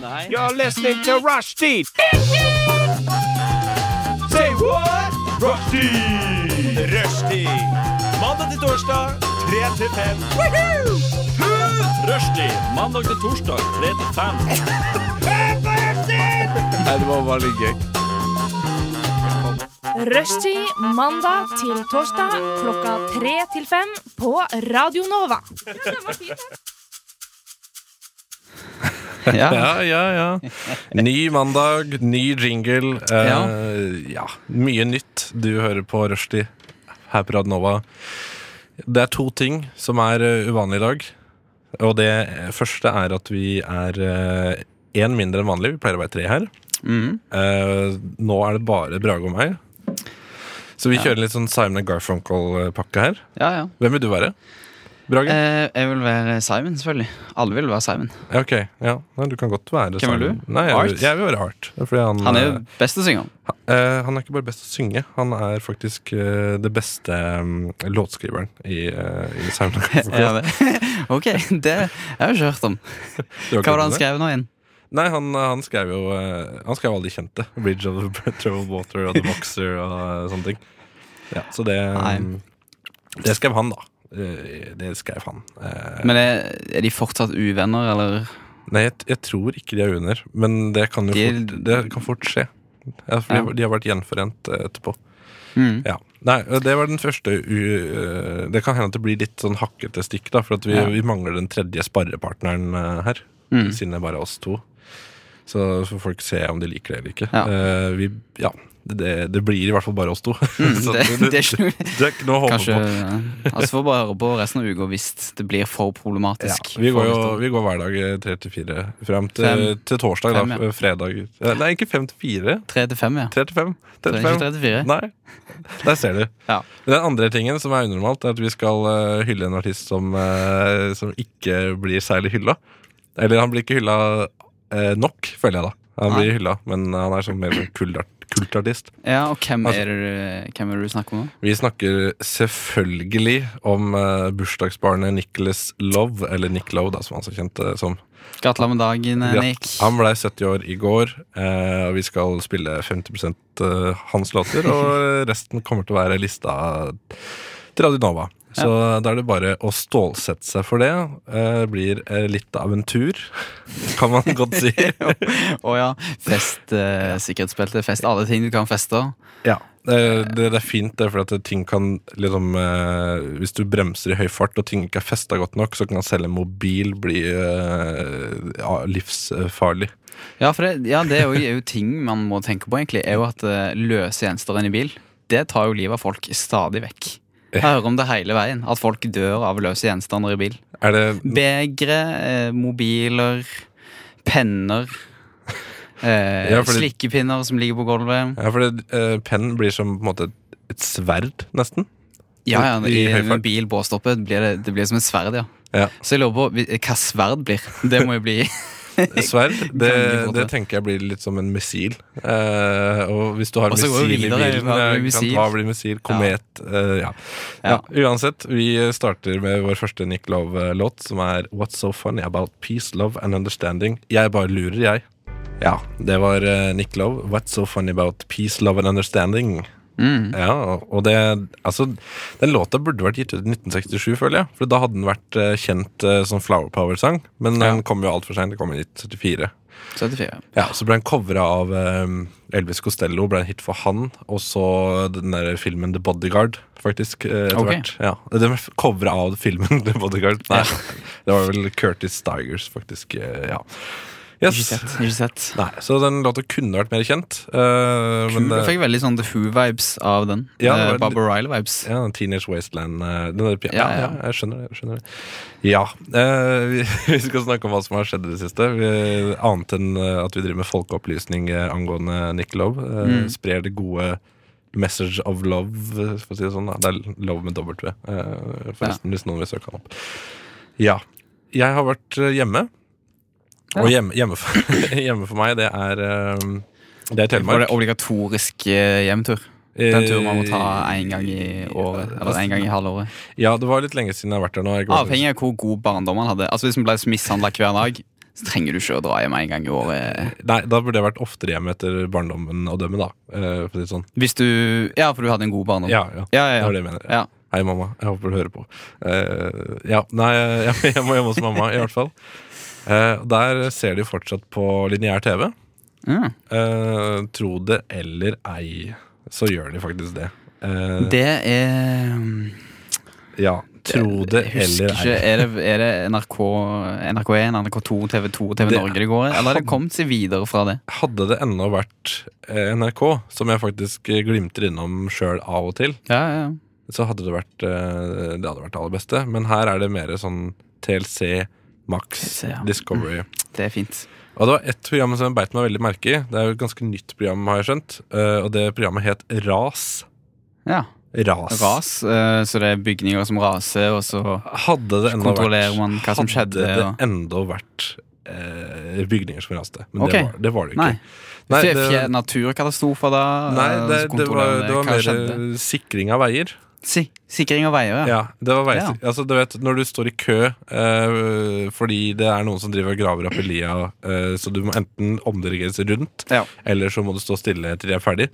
Nei. You're listening to Rushdie. Say what? Rushdie. Rushtid. Mandag til torsdag, 3 til 5. Rushtid. Mandag til torsdag, 3 til 5. Nei, det var veldig gøy. Rushtid mandag til torsdag klokka tre til fem på Radio Nova. Ja. Ja, ja, ja. Ny mandag, ny jingle. Eh, ja. Ja. Mye nytt du hører på Rushdie her på Radnova. Det er to ting som er eh, uvanlig i dag. Og det første er at vi er én mindre enn vanlig. Vi pleier å være tre her. Mhm. Eh, nå er det bare Brage og meg. Så vi kjører litt sånn Simon and Garfunkel-pakke her. ja, ja. Hvem vil du være? Brage? Eh, jeg vil være Simon, selvfølgelig. Alle vil være Simon. Ja, ok, ja. Nei, du kan godt være Hvem er Simon. du? Nei, jeg, Art? vil- jeg vil være Art. Det er Fordi han, Han er jo eh, best å synge om. Eh, han er ikke bare best å synge, han er faktisk eh, det beste mm, låtskriveren i, uh, i Sound of Music. Ja, det. Ok, det jeg har jeg ikke hørt om. Du har ikke Hva var det han hørt om skrev nå igjen? Nei, han, han skrev jo eh, Han skrev alle de kjente. 'Bridge of the Troubled Water' og 'The Boxer' og eh, sånne ting. Ja, så det Nei. mm, Det skrev han, da. Eh, Det skrev han. Eh, Men er, er de fortsatt uvenner, eller? nei, jeg, jeg tror ikke de er uvenner, men det kan jo De- fort, det kan fort skje. Ja, for de, har- de har vært gjenforent eh, etterpå. Mm. Ja. Nei, det var den første u øh, Det kan hende at det blir litt sånn hakkete stikk, da, for at vi, Ja. Mm. vi mangler den tredje sparrepartneren øh, her. Siden det er bare oss to. Så får folk se om de liker det eller ikke. Ja. Eh, vi, ja, det, det blir i hvert fall bare oss to. Så Mm, det- du- det er ikke noe- det er ikke noe å håpe Kanskje på. ja. Altså får bare høre på resten av uka hvis det blir for problematisk. Vi går, jo, For- vi går hver dag eh, tre til fire fram til, Fem. til torsdag. Fem, da, ja. Fredag. Eh, Nei, ikke fem til fire. Tre til fem, ja. Tre til fem. Tre Så det til er ikke fem. tre til fire. Nei. Der ser du. Ja. Den andre tingen som er unormalt, er at vi skal eh, hylle en artist som, eh, som ikke blir særlig hylla. Eller han blir ikke hylla eh, nok, føler jeg da. Han Nei. blir hylla, men han er sånn mer sånn kultart- kultartist. Ja, og hvem Altså- er det du, hvem er det du snakker om nå? Vi snakker selvfølgelig om eh, bursdagsbarnet Nicholas Love, eller Nick Lowe, da, som han er så kjent eh, som. Gratulerer med dagen, eh, Ja, Nick. Han blei 70 år i går, eh, og vi skal spille 50 eh, hans låter. Og resten kommer til å være lista til Radio Nova. Så da er det bare å stålsette seg for det. Eh, blir eh, litt av en tur, kan man godt si. Å ja. Fest eh, sikkerhetsbelte, fest alle ting du kan feste. ja. Eh, Det, det er fint, det, for at ting kan liksom eh, Hvis du bremser i høy fart og ting ikke er festa godt nok, så kan selv en mobil bli eh, ja, livsfarlig. Ja, for det, ja, det er, jo, er jo ting man må tenke på, egentlig. Er jo at eh, løse gjenstander inne i bil, det tar jo livet av folk stadig vekk. Jeg hører om det hele veien. At folk dør av løse gjenstander i bil. Er det Begre, eh, mobiler, penner. Eh, Ja, fordi- Slikkepinner som ligger på gulvet. Ja, for det, eh, pennen blir som på en måte et sverd, nesten. Ja, ja, I i, høy fart. en bil båstoppet blir det, det blir som et sverd, ja. Ja. Så jeg lurer på vi- hva sverd blir. Det må jo bli Sverd, det, Veldig godt, det ja. tenker jeg blir litt som en missil. Eh, og hvis du har Og så går missil i vi bilen, videre, hva blir eh, ikke sant, missil? hva blir missil? Komet? eh, ja. Ja. Ja. Uansett, vi starter med vår første Nick Love-låt, som er What's So Funny About Peace, Love and Understanding. Jeg bare lurer, jeg. Ja, det var eh, Nick Love. What's So Funny About Peace, Love and Understanding. mm. Ja, og det Altså, den låta burde vært gitt ut i 1967, føler jeg. For da hadde den vært eh, kjent eh, som Flower Power-sang, men den kom jo altfor seint. Den kom i 1974. 74. Ja, Så ble den covra av eh, Elvis Costello, ble en hit for han. Og så den der filmen The Bodyguard, faktisk. eh, etter Ok. hvert. Ja, Den ble covra av filmen The Bodyguard. Nei, det var vel Curtis Stigers, faktisk. eh, ja. Ikke Yes. sett. Ikke sett. Nei, så den låta kunne vært mer kjent. eh, men, Kul. Jeg fikk veldig sånn The Who-vibes av den. Ja, det Eh, var- Barbara Ryle-vibes. Ja, den Teenage Wasteland eh, den der, pia- ja, Ja, ja. ja. jeg skjønner det. Jeg skjønner det. Ja. eh, vi, vi skal snakke om hva som har skjedd i det siste. Vi, annet enn eh, at vi driver med folkeopplysning eh, angående Nick Love. eh, Mm. Sprer det gode message of love, eh, for å si det sånn. Da. Det er love med dobbelt V, eh, forresten, hvis noen vil søke han opp. Ja. Jeg har vært eh, hjemme. Og hjemme, hjemme, for, hjemme for meg, det er eh, Det er Var det Telemark. obligatorisk eh, hjemtur? Den turen man må ta Eh, én gang i året. Eller en gang i halvåret. Ja, det var litt lenge siden jeg har vært der nå. Jeg har ikke vært- Avhengig av hvor god barndom man hadde. Altså Hvis man ble mishandla hver dag, Så trenger du ikke å dra hjem en gang i året. Nei, da burde jeg vært oftere hjemme etter barndommen å dømme, da. Eh, for å si det sånn. Hvis du Ja, for du hadde en god barndom. Ja, ja. ja, ja, Det ja. var det jeg mener. Ja. Hei, mamma. Jeg håper du hører på. Eh, ja, nei, jeg, jeg må hjem hos mamma, i hvert fall. Eh, der ser de fortsatt på lineær TV. Ja. Eh, tro det eller ei, så gjør de faktisk det. Eh, Det er mm, ja, tro det, Jeg husker eller ikke. ei. Er det, er det NRK, NRK1, NRK2, TV2 TV Det- Norge det går i? Eller har det kommet seg videre fra det? Hadde det ennå vært eh, NRK, som jeg faktisk eh, glimter innom sjøl av og til, Ja, ja, ja. så hadde det vært eh, Det hadde vært det aller beste. Men her er det mer sånn TLC, Max, TLC, ja. Mm. Discovery. Det er fint. Og det var ett program som jeg beit meg veldig merke i. Det er jo et ganske nytt program, har jeg skjønt. Eh, og det programmet het Ras. Ja. Ras. Ras, eh, så det er bygninger som raser, og så Hadde det ennå kontrollerer vært man hva som skjedde, Hadde det og- enda vært eh, bygninger som raste. Men Ok. det, var, det var det jo Nei. ikke. Nei, Fje- det- fje- Naturkatastrofer, da? Nei, det, eh, så det var, kontrollerer det var hva mer eh, skjedde. sikring av veier. Si, sikring av veier, Ja, ja. det var veier. Ja. Altså, du vet, Når du står i kø eh, fordi det er noen som driver og graver opp i lia, eh, så du må enten omdirigeres rundt, Ja. eller så må du stå stille til de er ferdig.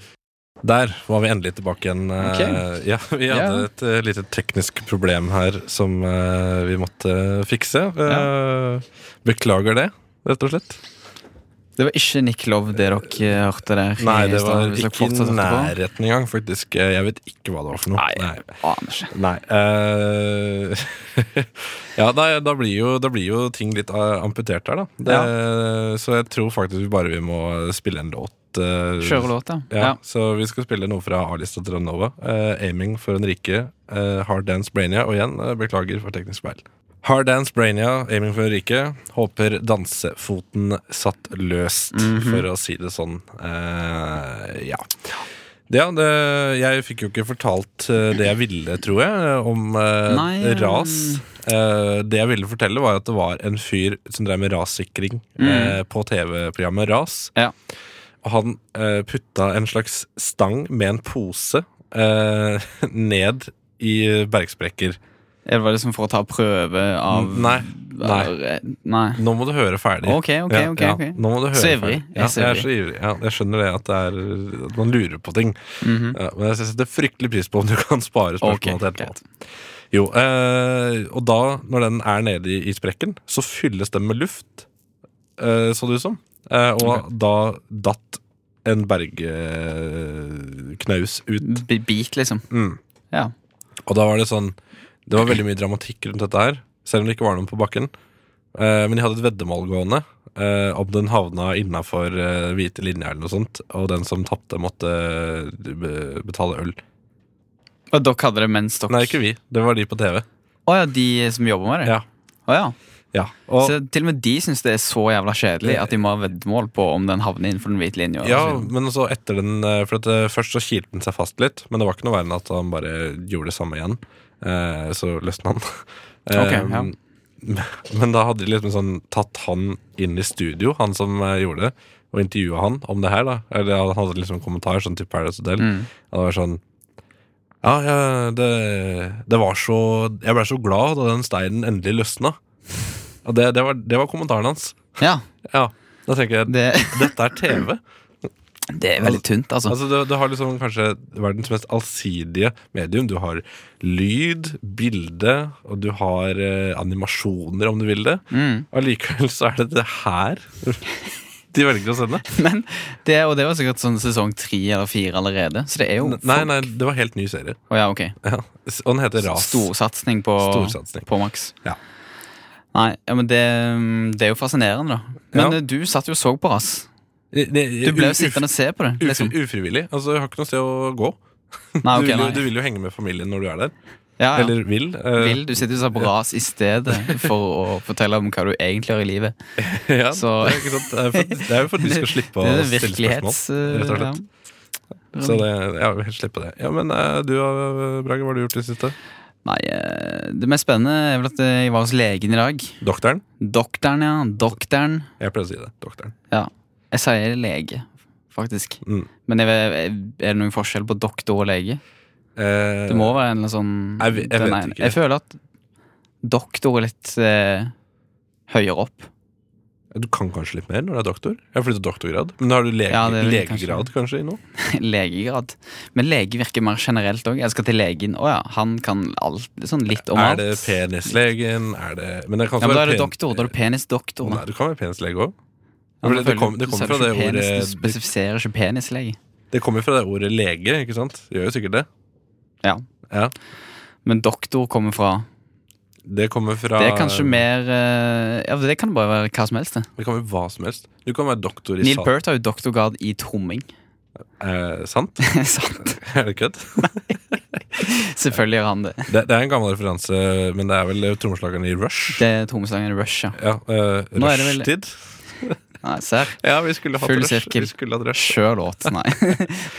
Der var vi endelig tilbake igjen. eh, Ok. Ja, vi hadde Ja. et eh, lite teknisk problem her som eh, vi måtte fikse. Eh, Beklager det, rett og slett. Det var ikke Nick Love det dere eh, hørte der. Nei, det i var stedet, hvis dere ikke i fortsatt hørte på. nærheten engang, faktisk. Eh, Jeg vet ikke hva det var for noe. Nei, jeg aner ikke. Nei. eh, ja, da, da, blir jo, da blir jo ting litt eh, amputert her, da. Det, Så jeg tror faktisk vi bare vi må spille en låt. eh, Kjøre låt, Ja, ja. Så vi skal spille noe fra A-lista til Ranova. Eh, 'Aiming for en rike', eh, 'Hard Dance Brainia'. Og igjen, eh, beklager for teknisk feil. Hard Dance Brainia, 'Aiming for en rike'. Håper dansefoten satt løst, Mhm. for å si det sånn. Eh, ja. Ja, det, jeg fikk jo ikke fortalt eh, det jeg ville, tror jeg, om eh, Nei, ja. ras. Eh, det jeg ville fortelle, var at det var en fyr som drev med rassikring eh, på TV-programmet Ras. Mm. Ja. Og han eh, putta en slags stang med en pose eh, ned i bergsprekker. Er det bare liksom for å ta prøve av Nei. nei. Eller, eh, nei. Nå må du høre ferdig. Ok, ok, Ja, ok. ja. ok. Nå må du høre Så ivrig. ferdig. Jeg Ja, er så jeg er så ivrig. Ja, jeg skjønner det at, det er, at man lurer på ting. Mhm. Ja, men jeg setter fryktelig pris på om du kan spare Ok, spørsmålet til etterpå. greit. Jo, eh, og da, når den er nede i, i sprekken, så fylles den med luft, eh, så det ut som. Eh, og da datt en bergknaus ut. Bi- Bit, liksom. Mm. Ja. Og da var det sånn Det var veldig mye dramatikk rundt dette her, selv om det ikke var noen på bakken. Eh, men de hadde et veddemål gående eh, om den havna innafor eh, hvite linjer eller noe sånt, og den som tapte, måtte eh, be- betale øl. Og dere hadde det mens dere Nei, ikke vi. Det var de på TV. Å ja, de som jobber med det? Ja. Å ja. Ja, og, så til og med de syns det er så jævla kjedelig at de må ha veddemål på om den havner innenfor den hvite linja. ja men så etter den eh, For at eh, Først så kilte den seg fast litt, men det var ikke noe verre enn at han bare gjorde det samme igjen. Eh, så løsna han. Ok, Eh, ja. Men da hadde de liksom sånn tatt han inn i studio, han som eh, gjorde det, og intervjua han om det her. da Eller Han hadde liksom en kommentar sånn til Paradise Hotel. Mm. Og det var sånn Ja, ja det, det var så Jeg blei så glad da den steinen endelig løsna. Og det, det, var, det var kommentaren hans. ja Ja, da tenker jeg det, dette er TV. det er veldig tynt, altså. Altså, du, du har liksom kanskje verdens mest allsidige medium. Du har lyd, bilde, og du har eh, animasjoner, om du vil det. Mm. Allikevel så er det det her de velger å sende. Men det, og det var sikkert sånn sesong tre eller fire allerede, så det er jo N- Nei, nei, det var helt ny serie. Å ja, ok. Ja. s- Og den heter Ras. Storsatsing på, Storsatsing. på Max. Ja. Nei, ja, men det, mm, det er jo fascinerende, da. Men Ja. eh, du satt jo og så på Ras. Ne- ne- Du ble uf- jo sittende og se på det. uf- Liksom. Ufrivillig. Altså, jeg har ikke noe sted å gå. Nei, ok, du, vil, jo- du nei. vil jo henge med familien når du er der. Ja, ja. Eller vil. eh, Vil du sitter og ser på Ras i stedet for å fortelle om hva du egentlig har i livet. Ja, Så- det, er ikke sant? Det, er for, det er jo for at vi skal slippe å det er stille spørsmål. virkelighets... rett og slett. Så Mm. det, jeg vil helt slippe det. Ja, Men eh, du, eh, Brage, hva har du gjort i det siste? Nei, eh, det mest spennende er vel at eh, jeg var hos legen i dag. Doktoren? Doktoren, ja. Doktoren. Jeg pleier å si det. Doktoren. Jeg sier lege, faktisk. Mm. Men jeg, vet- er det noen forskjell på doktor og lege? Eh, Det må være en eller annen sånn Jeg vet- jeg den vet ene. ikke. Jeg føler at doktor er litt eh, høyere opp. Du kan kanskje litt mer når du er doktor? Jeg har flyttet doktorgrad. Men har du lege, Ja, det er vel legegrad kanskje, i noe? Legegrad. Men lege virker mer generelt òg. Jeg skal til legen. Å ja, han kan alt, sånn litt om er alt. det penislegen? Er det Men det kan også Ja, men da er være det pen- doktor. Da er du penisdoktor. da. Nei, du kan være penislege òg. Ja, men det, det føler- kom- det kommer så er fra det ikke penis, ordet- Du spesifiserer ikke penislege. Det kommer fra det ordet lege, ikke sant? Det gjør jo sikkert det. Ja. Ja. Men doktor kommer fra Det kommer fra Det er kanskje mer eh, Ja, det kan bare være hva som helst. det Det kan være hva som helst. Du kan være doktor i Neil sal- Peart har jo doktorgrad i tromming. Eh, sant? Sant? Er det kødd? Selvfølgelig gjør han det. Det, det er en gammel referanse, men det er vel trommeslageren i Rush. Det er trommeslageren i Rush, ja. Ja, eh, Nå er det vel- Rushtid. Nei, ser. Ja, vi skulle hatt Full Rush. sirkel. Vi skulle hatt Rush. Sjøl låt, nei.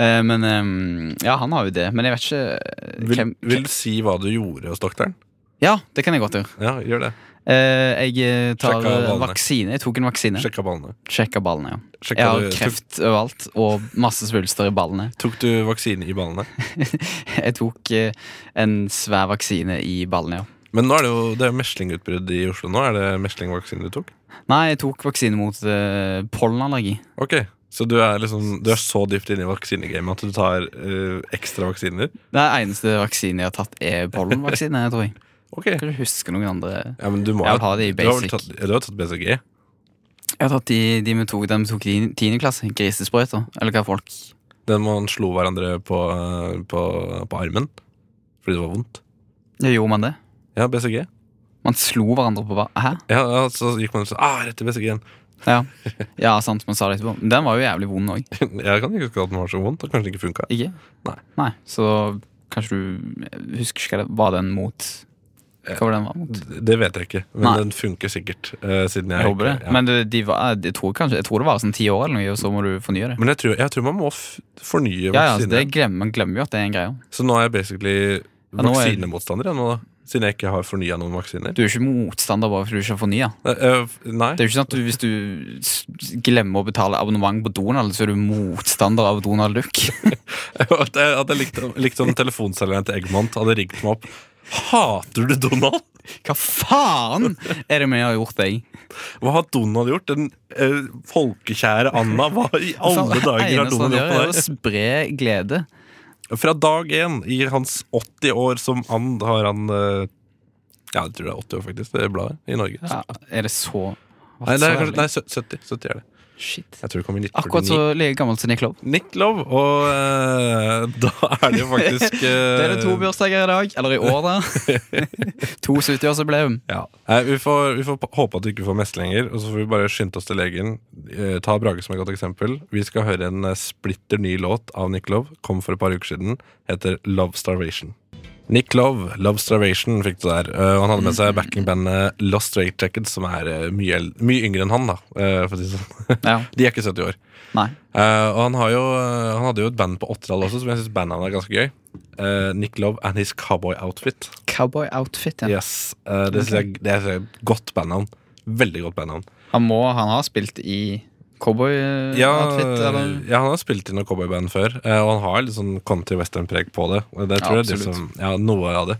Eh, Men ehm, Ja, han har jo det. Men jeg vet ikke eh, Vil, hvem vil du si hva du gjorde hos doktoren? Ja, det kan jeg godt gjøre. Ja, gjør det. Eh, Jeg eh, tar Sjekka ballene. vaksine. Jeg tok en vaksine. Sjekka ballene. Sjekka ballene, ja. Sjekka Jeg har du- kreft overalt og masse svulster i ballene. Tok, tok du vaksine i ballene? Jeg tok eh, en svær vaksine i ballene, ja. Men nå er det jo det er jo meslingutbrudd i Oslo nå. Er det meslingvaksine du tok? Nei, jeg tok vaksine mot eh, pollenallergi. Ok, Så du er liksom Du er så dypt inne i vaksinegamet at du tar eh, ekstra vaksiner? Det er eneste vaksinen jeg har tatt, er pollenvaksine, tror jeg. Ok Kan ikke huske noen andre. ja, men du må Jeg har det i du har vel basic. tatt, ja, du har tatt BCG? Jeg har tatt de, de vi tok, de tok i tiende klasse. Grisesprøyter. Eller hva folk Den man slo hverandre på, eh, på, på armen fordi det var vondt? ja, Gjorde man det? Ja, BCG. Man slo hverandre på hva? Hæ? Ja, ja, Så gikk man sånn ah, Rett til BCG-en. Ja. ja, sant, man sa det etterpå. Men den var jo jævlig vond òg. Jeg kan ikke huske at den var så vondt. og Kanskje det ikke funka. Ikke? Nei. Nei. Så kanskje du jeg husker ikke hva det var den mot Hva var den var mot? Det vet jeg ikke, men Nei. den funker sikkert. eh, siden jeg, Jeg håper det. ikke- ja. Men det- de var, jeg, tror kanskje, jeg tror det var sånn ti år eller noe, og så må du fornye det. Men jeg tror, jeg tror man må f fornye Ja, ja, altså, vaksinen. det glemmer, Man glemmer jo at det er en greie. Så nå er jeg basically Ja, nå er- vaksinemotstander jeg nå, da. Siden jeg ikke har fornya noen vaksiner. Du er jo ikke motstander bare fordi du ikke har fornya. Nei, øh, f- nei. Det er jo ikke sånn at du, hvis du s- glemmer å betale abonnement på Donald, så er du motstander av Donald Duck. At jeg, at jeg likte, likte om telefonselgeren til Eggmont hadde ringt meg opp. Hater du Donald? Hva faen er det vi har gjort deg? Hva har Donald gjort? Den eh, folkekjære Anna, hva i alle Det dager har eneste han Donald gjør, er gjort på å deg? spre glede. Fra dag én i hans 80 år som and har han eh, Ja, jeg tror det er 80 år, faktisk. Det er bladet i Norge. Ja, er det så Nei, det er så kanskje, nei, sø- 70, 70 er det. Shit. Jeg tror det kom i 1949. Akkurat så like gammel som Nick Love. Nick Love, og eh, da er det jo faktisk eh, Det er det to bursdager i dag. Eller i år, da. to 70-årsjubileum. Ja. Nei, vi, får, vi får p- håpe at du ikke får mestlinger, og så får vi bare skynde oss til legen. Eh, ta Brage som et godt eksempel. Vi skal høre en eh, splitter ny låt av Nick Love. Kom for et par uker siden. Heter Love Starvation. Nick Love, Love Starvation, fikk du der. Eh, og han hadde med seg backingbandet Lost Straight Jackets, som er eh, mye, el- mye yngre enn han, da. eh, for å si det sånn. Ja. De er ikke 70 år. Nei. Eh, og han, har jo, eh, han hadde jo et band på Åtterdal også, som jeg syns bandet er ganske gøy. Eh, Nick Love and His Cowboy Outfit. Cowboy outfit, ja. Yes, eh, Det synes jeg det er et godt bandnavn. Veldig godt bandnavn. Han må, han har spilt i cowboy-outfit, Ja, eh, eller? ja, han har spilt i noe cowboyband før, eh, og han har litt sånn country western-preg på det. Og Det Ja, tror jeg er det absolutt. som, ja, noe av det.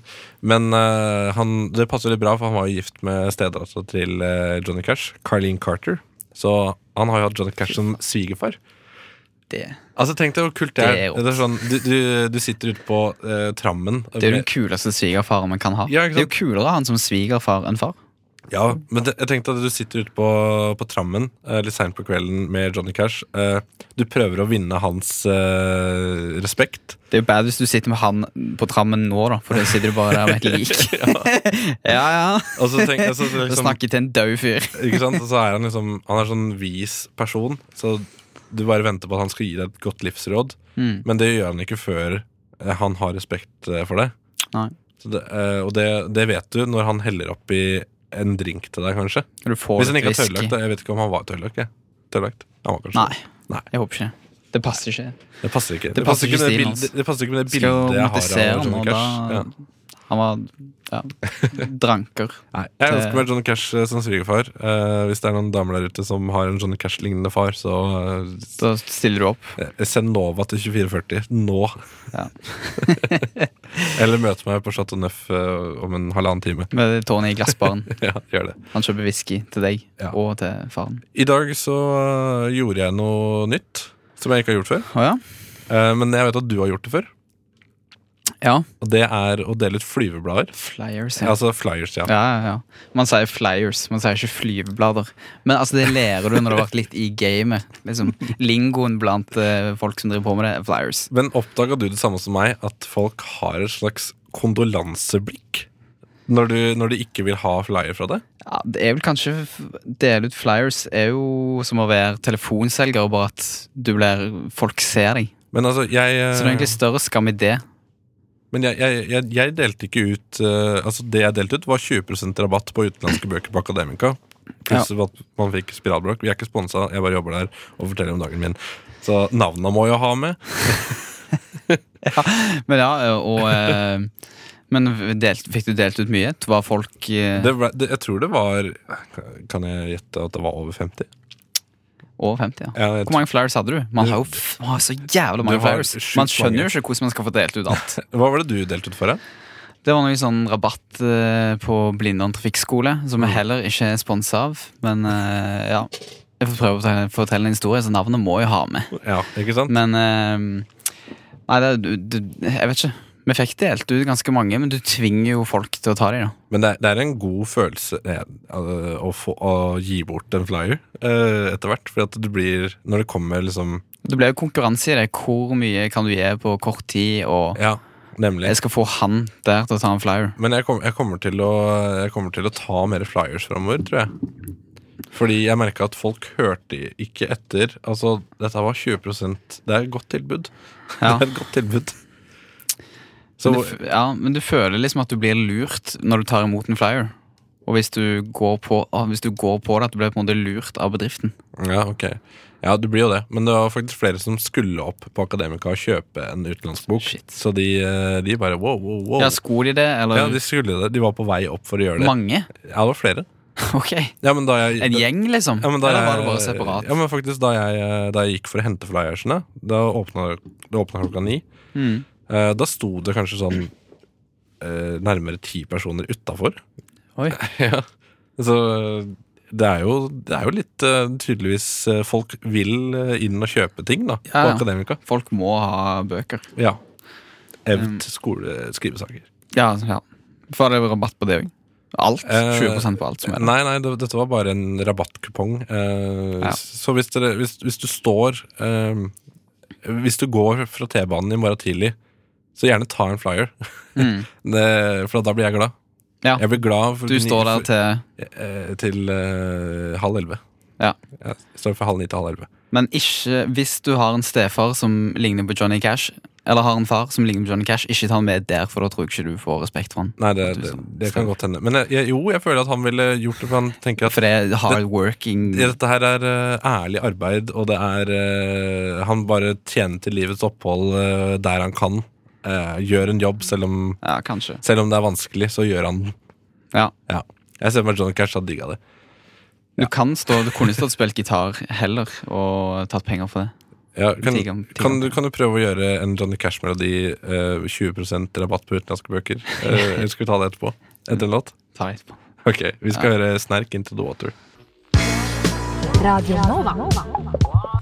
Men eh, han, det passer litt bra, for han var jo gift med stedattera til eh, Johnny Cash, Carleen Carter. Så han har jo hatt Johnny Cash som svigerfar. Det, Altså Tenk deg hvor kult det er. Det er rått. Det er sånn, du, du, du sitter ute på eh, trammen. det er jo den kuleste svigerfaren man kan ha. Ja, ikke det sant? er jo kulere han som svigerfar enn far. Ja, men det, jeg tenkte at du sitter ute på, på trammen eh, litt seint på kvelden med Johnny Cash. Eh, du prøver å vinne hans eh, respekt. Det er jo bad hvis du sitter med han på trammen nå, da, for da sitter du bare der med et lik. ja, ja. Og så tenk, altså, Du liksom, snakker til en død fyr. ikke sant? Og så er han liksom Han er sånn vis person, så du bare venter på at han skal gi deg et godt livsråd. Mm. Men det gjør han ikke før eh, han har respekt eh, for deg. Nei. Så det, eh, og det, det vet du når han heller oppi en drink til deg, kanskje. Du får Hvis han ikke litt har tørrlagt. whisky. da. Jeg vet ikke om han var tørrlagt. jeg. Tørrlagt? Han var kanskje Nei. Nei. Jeg håper ikke. Det passer ikke. Det passer ikke. Det passer ikke med det stilen bildet- hans. det passer ikke med det Skal bildet jo jeg har motisere av han, Johnny og Cash. Ja. da Han var ja, dranker. Nei, Jeg ønsker meg Johnny Cash eh, som svigerfar. Eh, hvis det er noen damer der ute som har en Johnny Cash-lignende far, så Så stiller du opp. eh, send Nova til 2440 nå. Ja. Eller møt meg på Chateau Neuf eh, om en halvannen time. Med tårnet i glassbaren. Ja, gjør det. Han kjøper whisky til deg Ja. og til faren. I dag så eh, gjorde jeg noe nytt som jeg ikke har gjort før. Å ja? Eh, men jeg vet at du har gjort det før. Ja. Og det er å dele ut flyveblader. Flyers. Ja. Altså flyers, ja. Ja, ja, ja. Man sier flyers, man sier ikke flyveblader. Men altså, det lærer du når du har vært litt i gamet. Liksom. Lingoen blant eh, folk som driver på med det, er flyers. Men oppdaga du det samme som meg, at folk har et slags kondolanseblikk? Når du, når de ikke vil ha flyer fra deg? Ja, det er vel kanskje Dele ut flyers er jo som å være telefonselger, bare at du blir Folk ser deg. Men altså, jeg eh, Så det er egentlig større skam i det. Men jeg, jeg, jeg, jeg delte ikke ut eh, Altså Det jeg delte ut, var 20 rabatt på utenlandske bøker på Akademika. Pluss at man fikk spiralbrokk. Vi er ikke sponsa, jeg bare jobber der og forteller om dagen min. Så navna må jeg ha med. Men ja, eh, og eh, Men delt, fikk du delt ut mye? Var folk eh, Det ble, det, jeg tror det var Kan jeg gjette at det var over 50? over 50? ja Ja, jeg Hvor mange flyers hadde du? Man har jo f man har så jævla mange Det var flyers. sjukt Man skjønner mange. jo ikke hvordan man skal få delt ut alt. tror- Hva var det du delte ut for? da? Det var noe sånn rabatt eh, på Blindern trafikkskole, som Mm. vi heller ikke er sponsa av. Men eh, ja. Jeg får prøve å fortelle- fortelle en historie, så navnet må jeg ha med. Ja, ikke sant? Men eh, Nei, det, du, du, jeg vet ikke. Vi fikk delt ut ganske mange, men du tvinger jo folk til å ta dem. da. Men det er, det er en god følelse eh, å, få, å gi bort en flyer eh, etter hvert. For at du blir Når det kommer liksom Det ble jo konkurranse i det. Hvor mye kan du gi på kort tid? Og Ja, nemlig. jeg skal få han der til å ta en flyer. Men jeg, kom, jeg, kommer til å, jeg kommer til å ta mer flyers framover, tror jeg. Fordi jeg merka at folk hørte ikke etter. Altså, dette var 20 Det er et godt tilbud. Ja. Det er et godt tilbud. Så Men du, f- ja, men du føler liksom at du blir lurt når du tar imot en flyer. Og hvis du går på, ah, hvis du går på det, at du blir på en måte lurt av bedriften. Ja, ok. Ja, du blir jo det. Men det var faktisk flere som skulle opp på Akademika og kjøpe en utenlandsk bok. Shit. Så de, eh, de bare wow, wow, wow. Ja, sko de det, eller Ja, de skulle det. De var på vei opp for å gjøre det. mange? Ja, det var flere. Ok. Ja, men da jeg, En gjeng, liksom? Ja, men da eller var jeg- det bare separat? Ja, men faktisk Da jeg, eh, da jeg gikk for å hente flyersene, da åpna det åpna klokka ni. Mm. Eh, da sto det kanskje sånn eh, nærmere ti personer utafor. Oi. ja. Så det er jo, det er jo litt eh, tydeligvis eh, Folk vil eh, inn og kjøpe ting da på Ja, ja. Akademika. Folk må ha bøker. Ja. Mm. Evt skole skrivesaker. Ja, ja. Får dere rabatt på det òg? Alt? Eh, 20 på alt som er der. Nei, nei, det, dette var bare en rabattkupong. Eh, Ja. Så hvis, dere, hvis, hvis du står eh, Hvis du går fra T-banen i morgen tidlig, så gjerne ta en flyer. Mm. Det, for da blir jeg glad. Ja. Jeg blir glad for Du står der til eh, til eh, halv elleve. Ja. Jeg står fra halv ni til halv elleve. Men ikke hvis du har en stefar som ligner på Johnny Cash, eller har en far som ligner på Johnny Cash, ikke ta han med der, for da tror jeg ikke du får respekt for han. Nei, det, At du det, står- det kan godt hende. Men jeg- jeg, jo, jeg føler at han ville gjort det, for han tenker at For det er hard working Ja, Dette her er eh, ærlig arbeid, og det er eh, Han bare tjener til livets opphold eh, der han kan. Eh, gjør en jobb, selv om, Ja, kanskje. selv om det er vanskelig, så gjør han den. Ja. Ja. Jeg ser for meg Johnny Cash hadde digga det. Du kan stå, du kunne stått og spilt gitar heller, og tatt penger for det. Ja, kan, Digga- digga kan, du, det. kan du prøve å gjøre en Johnny Cash-melodi eh, 20 rabatt på utenlandske bøker? Eh, Eller skal vi ta det etterpå? Etter en låt? Ta det etterpå. Ok, vi skal høre Snerk Into The Water. Radio Nova.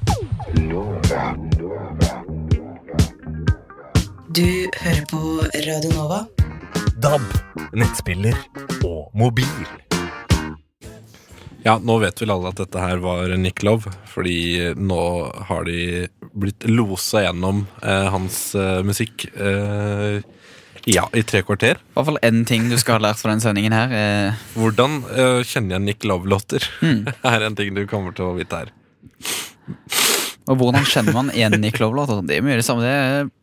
Du hører på Radio Nova. DAB, nettspiller og mobil. Ja, nå vet vel alle at dette her var Nick Love, fordi nå har de blitt losa gjennom eh, hans eh, musikk eh, ja, i tre kvarter. I hvert fall én ting du skal ha lært fra den sendingen her. er- Hvordan eh, kjenner jeg Nick Love-låter? er en ting du kommer til å vite her. Og hvordan kjenner man igjen i Klovlåter? Det er mye det samme. Det er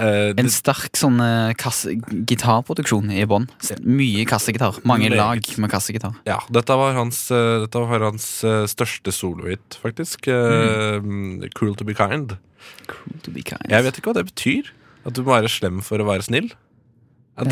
Eh, en det- sterk sånn eh, kasse, gitarproduksjon i bånn. S- Mye kassegitar. Mange Meget. lag med kassegitar. ja, dette var hans, eh, dette var hans eh, største solohit, faktisk. Eh, Cruel to be kind. Cool to be kind. Jeg vet ikke hva det betyr. At du må være slem for å være snill. Ja, Eh,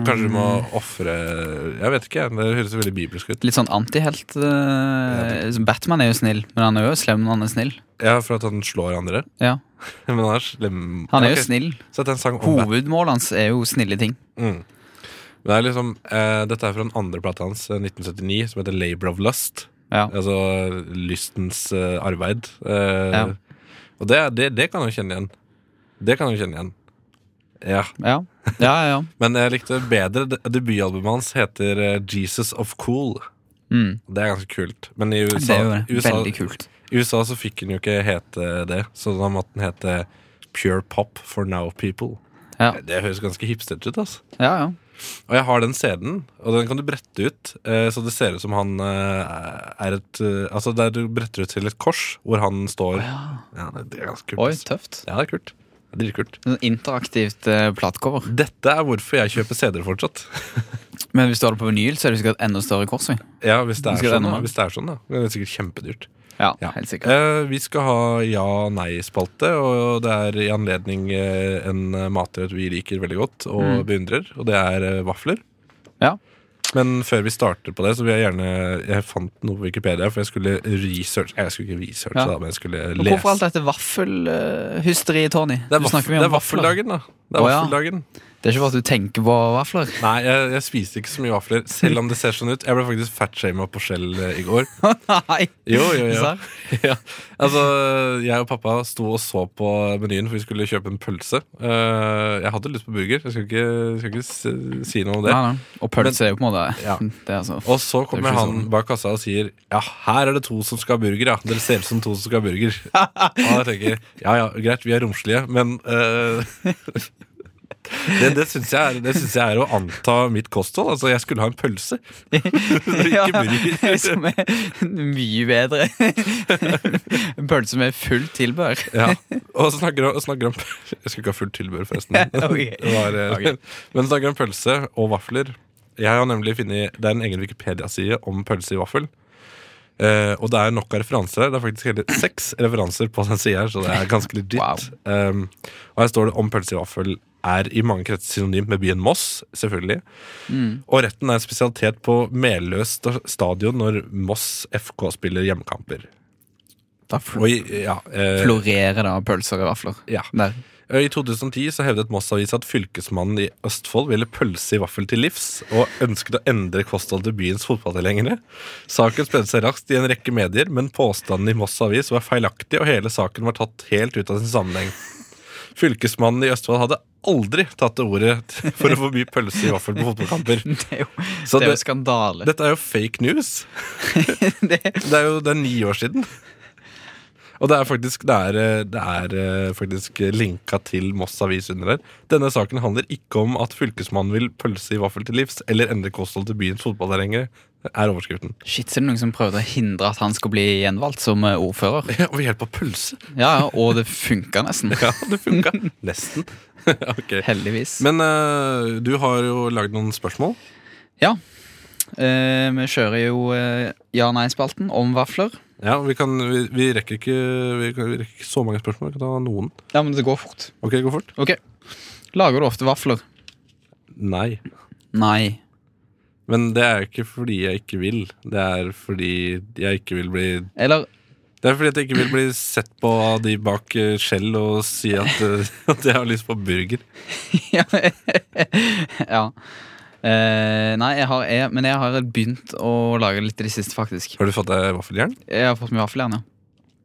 du, kanskje du må ofre Jeg vet ikke. Det høres veldig bibelsk ut. Litt sånn antihelt. eh, Batman er jo snill, men han er jo slem når han er snill. Ja, For at han slår andre. Ja, Men han er slem. Han er Ja, ok. jo snill. Sett en sang om Batman. Hovedmålet hans er jo snille ting. Mm. Men det er liksom, eh, dette er fra den andre plata hans, eh, 1979, som heter 'Labor of Lust'. Ja. Altså lystens eh, arbeid. Eh, Ja. Og det, er- det, det kan jeg jo kjenne igjen. Det kan jeg jo kjenne igjen. Ja. Ja, ja, ja. ja. Men jeg likte bedre de- debutalbumet hans heter eh, 'Jesus of Cool'. Mm. Det er ganske kult. Men i Det er jo USA, det. USA, veldig kult. i USA så fikk den jo ikke hete det, så da måtte den hete Pure Pop for Now People. Ja. Det høres ganske hipstert ut. altså Ja, ja. og jeg har den CD-en, og den kan du brette ut. eh, Så det ser ut som han eh, er et eh, Altså der du bretter ut til et kors hvor han står. Ja, det er ganske kult. Oi, ass. tøft. Ja, det er kult. Det er Dritkult. Sånn Interaktivt eh, platecover. Dette er hvorfor jeg kjøper CD-er fortsatt. Men hvis du har det på vinyl, så er det sikkert enda større korsving. Ja, hvis det er Skal det sånn, ende da. med? Hvis det er sånn, da. Det er sikkert kjempedyrt. Ja, Ja. helt sikkert. Eh, vi skal ha ja-nei-spalte, og det er i anledning eh, en matrett vi liker veldig godt og beundrer, og det er eh, vafler. Mm. Ja. Men før vi starter på det, så vil jeg gjerne Jeg fant noe på Wikipedia, for jeg skulle researche Jeg skulle ikke researche, Ja. da, men jeg skulle Og lese. hvorfor alt dette vaffelhysteriet, Tony? det er, Du snakker vaffel, mye det om er vaffeldagen, da. Det er Å, ja. vaffeldagen Det er ikke bare at du tenker på vafler. Nei, jeg, jeg spiste ikke så mye vafler, selv om det ser sånn ut. Jeg ble faktisk fatshama på skjell eh, i går. Nei! Jo, jo, jo. Serr? ja. Altså, jeg og pappa sto og så på menyen, for vi skulle kjøpe en pølse. Eh, jeg hadde lyst på burger, jeg skal ikke, jeg skal ikke si, si noe om det. Nei, nei. Og pølse er jo på en måte Ja. det, er altså. Og så kommer Det er ikke han sånn. bak kassa og sier Ja, her er det to som skal ha burger, ja. Dere ser ut som to som skal ha burger. Og jeg tenker ja ja, greit, vi er romslige, men eh, Det, det syns jeg, er- det syns jeg er å anta mitt kosthold. Altså, jeg skulle ha en pølse. Ja, burger. Som er mye bedre. En pølse med fullt tilbør. Ja, og snakker om, snakker om Jeg skulle ikke ha fullt tilbør, forresten. Ok. Det var, eh, Ok. Men snakker om pølse og vafler. Jeg har nemlig funnet Det er en egen Wikipedia-side om pølse i vaffel. Eh, og det er nok av referanser her. Det er faktisk hele seks referanser på den sida her, så det er ganske legit. Wow. Um, og her står det om pølse i vaffel er i mange kretser synonym med byen Moss, selvfølgelig. Mm. Og retten er en spesialitet på Meløs sta- stadion når Moss FK spiller hjemmekamper. Da Og fl- i, ja, eh, florerer det av pølser og vafler. ja. Der. I 2010 så hevdet Moss-avisa at fylkesmannen i Østfold ville pølse i vaffel til livs, og ønsket å endre kostholdet til byens fotballtilhengere. Saken spredde seg raskt i en rekke medier, men påstanden i Moss-avis var feilaktig, og hele saken var tatt helt ut av sin sammenheng. Fylkesmannen i Østfold hadde aldri tatt til orde for å forby pølse i vaffel på fotballkamper. Det er jo, Så det er det, jo skandale. dette er jo fake news. Det, Det er jo det er ni år siden. Og det er faktisk, det er, eh, det er eh, faktisk linka til Moss Avis under der. Denne saken handler ikke om at fylkesmannen vil pølse i vaffel til livs eller endre kosthold til byens fotballterrengere, er overskriften. shit, så er det noen som prøvde å hindre at han skulle bli gjenvalgt som eh, ordfører. Ja, Ved hjelp av pølse? Ja, ja, Og det funka nesten. Ja, det funka. Nesten. ok. Heldigvis. Men eh, du har jo lagd noen spørsmål. Eh, vi kjører jo eh, ja-nei-spalten om vafler. Ja, Vi, kan, vi, vi, rekker ikke, vi, kan, vi rekker ikke så mange spørsmål. Vi kan ta noen. Ja, men det går fort. Ok, gå fort. Ok. Lager du ofte vafler? Nei. Nei. Men det er jo ikke fordi jeg ikke vil. Det er fordi jeg ikke vil bli Eller Det er fordi at jeg ikke vil bli sett på av de bak eh, skjell og si at, eh, at jeg har lyst på burger. Ja. ja. Eh, nei, jeg har, jeg, men jeg har begynt å lage litt i det siste, faktisk. Har du fått deg vaffeljern? Jeg har fått meg vaffeljern, ja.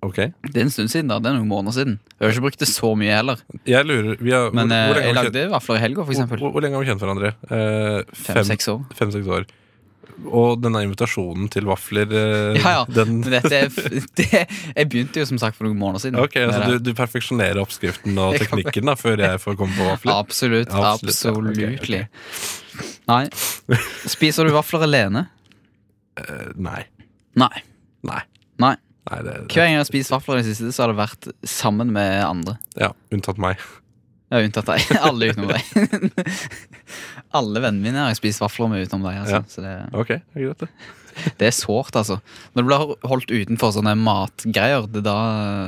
Ok. Det er en stund siden, da. Det er noen måneder siden. Jeg har ikke brukt det så mye heller. Jeg lurer vi har, Men eh, hvor, hvor, lenge jeg har vi kjent, lagde vafler i helga, for hvor, eksempel. hvor, hvor lenge har vi kjent hverandre? Eh, fem- Fem-seks år. Fem-seks år. Og denne invitasjonen til vafler eh, Ja, ja. Den, Men dette er, f- det, jeg begynte jo som sagt for noen måneder siden. Ok, med altså det. du, du perfeksjonerer oppskriften og Jeg kan- teknikken da før jeg får komme på vafler? Absolutt. Absolutt, ja. Ok, ok. Absolutely. Nei. Spiser du vafler alene? Eh, nei. Nei. Nei. Nei. Nei det, Hver gang jeg har spist vafler i det siste, så har det vært sammen med andre. Ja, Unntatt meg. Ja, unntatt deg. Alle utenom deg. Alle vennene mine har jeg spist vafler med utenom deg. Altså. Ja. Så det, Ok, det er greit, det. det er sårt, altså. Når du blir holdt utenfor sånne matgreier, det da,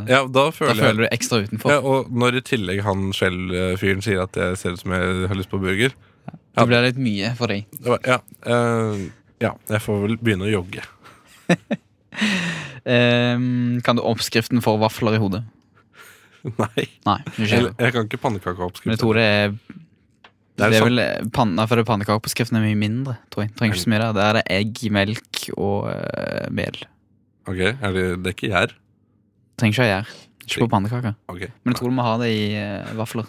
Ja, da da føler jeg føler du deg ekstra utenfor. Ja, og når i tillegg han Skjell-fyren sier at jeg ser ut som jeg har lyst på burger, Ja. Det blir litt mye for deg. Det var- Ja, eh, ja, jeg får vel begynne å jogge. Ehm, kan du oppskriften for vafler i hodet? Nei. Nei. Ikke. Jeg, heller. jeg kan ikke Men jeg pannekakeoppskrift. tror det er Det er sånn- det er sant. vel eh, panna, for det er pannekakeoppskriften er mye mindre. tror jeg. Trenger ikke så mye der. Der er det egg, melk og eh, mel. Ok, er det, det er ikke gjær? Trenger ikke ha gjær. Ikke på pannekaker. Ok. Men jeg tror du må ha det i eh, vafler.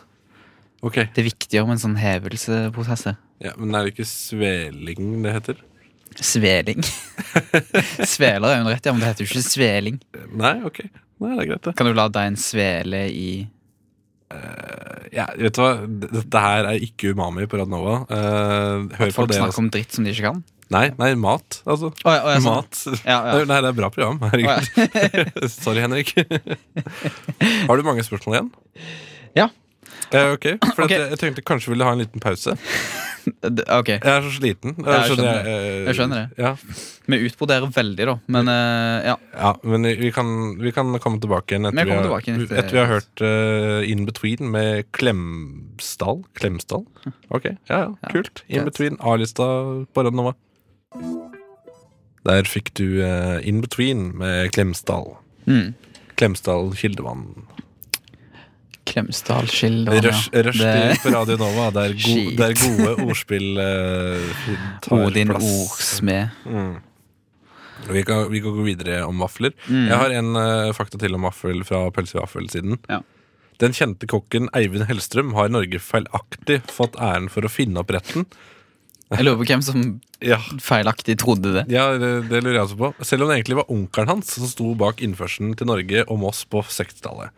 Ok, Det er viktigere med en sånn hevelseprosess. her. ja, Men er det ikke sveling det heter? Sveling. Sveler er hun rett i, ja, men det heter jo ikke sveling. Nei, ok. Nei, det er greit, det. Kan du la deigen svele i Ja, vet du hva? D- Dette her er ikke umami på Radnova. Eh, hør på Folk det. snakker Altså. om dritt som de ikke kan. Nei, nei, mat, altså. Å, ja, å, ja, sånn. Mat. Ja, ja. Nei, det er bra program. Herregud. Sorry, Henrik. Har du mange spørsmål igjen? Ja. Eh, ok, for At Ok. jeg, jeg tenkte kanskje ville ha en liten pause. D- Ok, Jeg er så sliten. Ja, jeg skjønner eh, Jeg skjønner det. Ja, Vi utbroderer veldig, da. Men eh, ja, ja Men vi kan, vi kan komme tilbake igjen Vi etter, vi kommer har, tilbake igjen etter- etter vi har hørt eh, In Between med Klemsdal. Klemsdal? Ok, ja, ja, kult. Hm. greit. In Between, A-lista på Radnova. Der fikk du eh, In Between med Klemsdal. Mm. Klemsdal Kildevann. Klemsdal, Skill og Rush, ja. rush Det- til på Radio Nova. Det er, go, Shit. det er gode ordspill eh, tar Odin plass. Ordsmed. Vi kan, vi kan gå videre om vafler. Mm. Jeg har en eh, fakta til om vaffel fra Pølse i vaffel-siden. Ja. Den kjente kokken Eivind Hellstrøm har i Norge feilaktig fått æren for å finne opp retten. Jeg lurer på hvem som Ja, feilaktig trodde det. ja det, det lurer jeg også på. Selv om det egentlig var onkelen hans som sto bak innførselen til Norge og Moss på 60-tallet.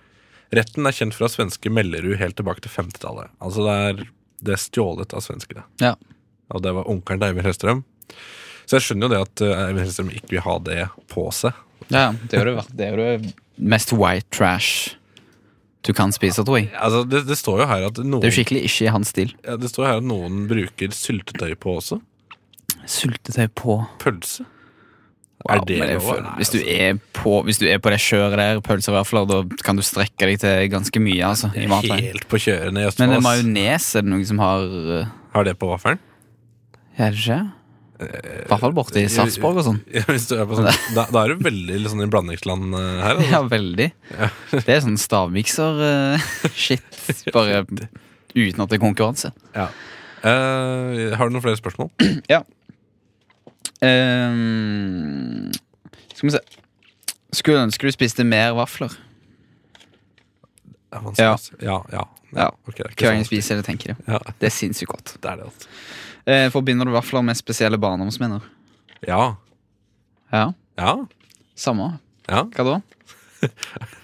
Retten er kjent fra svenske Mellerud helt tilbake til 50-tallet. Altså det er, det er stjålet av svenskene. Ja. Og det var onkelen til Eivind Hellstrøm. Så jeg skjønner jo det at eh, Eivind Hellstrøm ikke vil ha det på seg. Ja, det er jo det, det, er jo det mest white trash du kan spise, tror jeg. Altså, det, det står jo her at noen Det er jo skikkelig ikke i hans stil. Ja, det står her at noen bruker syltetøy på også. Syltetøy på. Pølse. Wow, er det men jeg lov? føler- Nei, Hvis du altså. er på, hvis du er på det kjøret der, pølser og vafler, da kan du strekke deg til ganske mye. altså, i matveien. Helt på kjørende i Men Østfold. det er ass. majones er det noen som har eh, Har det på vaffelen? Er det ikke? I hvert fall borte i Sarpsborg og sånn. Hvis du er på sånn, da, da er du veldig litt sånn i blandingsland eh, her. Altså. Ja, veldig. Det er sånn stavmikser-shit, bare uten at det er konkurranse. Eh, har du noen flere spørsmål? Ehm, skal vi se Skulle ønske du spiste mer vafler. Det er Ja. vanskelig, ass. ja. Ja, Ja. Ok, det er ikke Hver gang jeg sånn. spiser det, tenker jeg det. Ja, Det er sinnssykt godt. det er det. Altså. Eh, forbinder du vafler med spesielle barndomsminner? Ja. Ja, Ja. samme. ja. Hva da?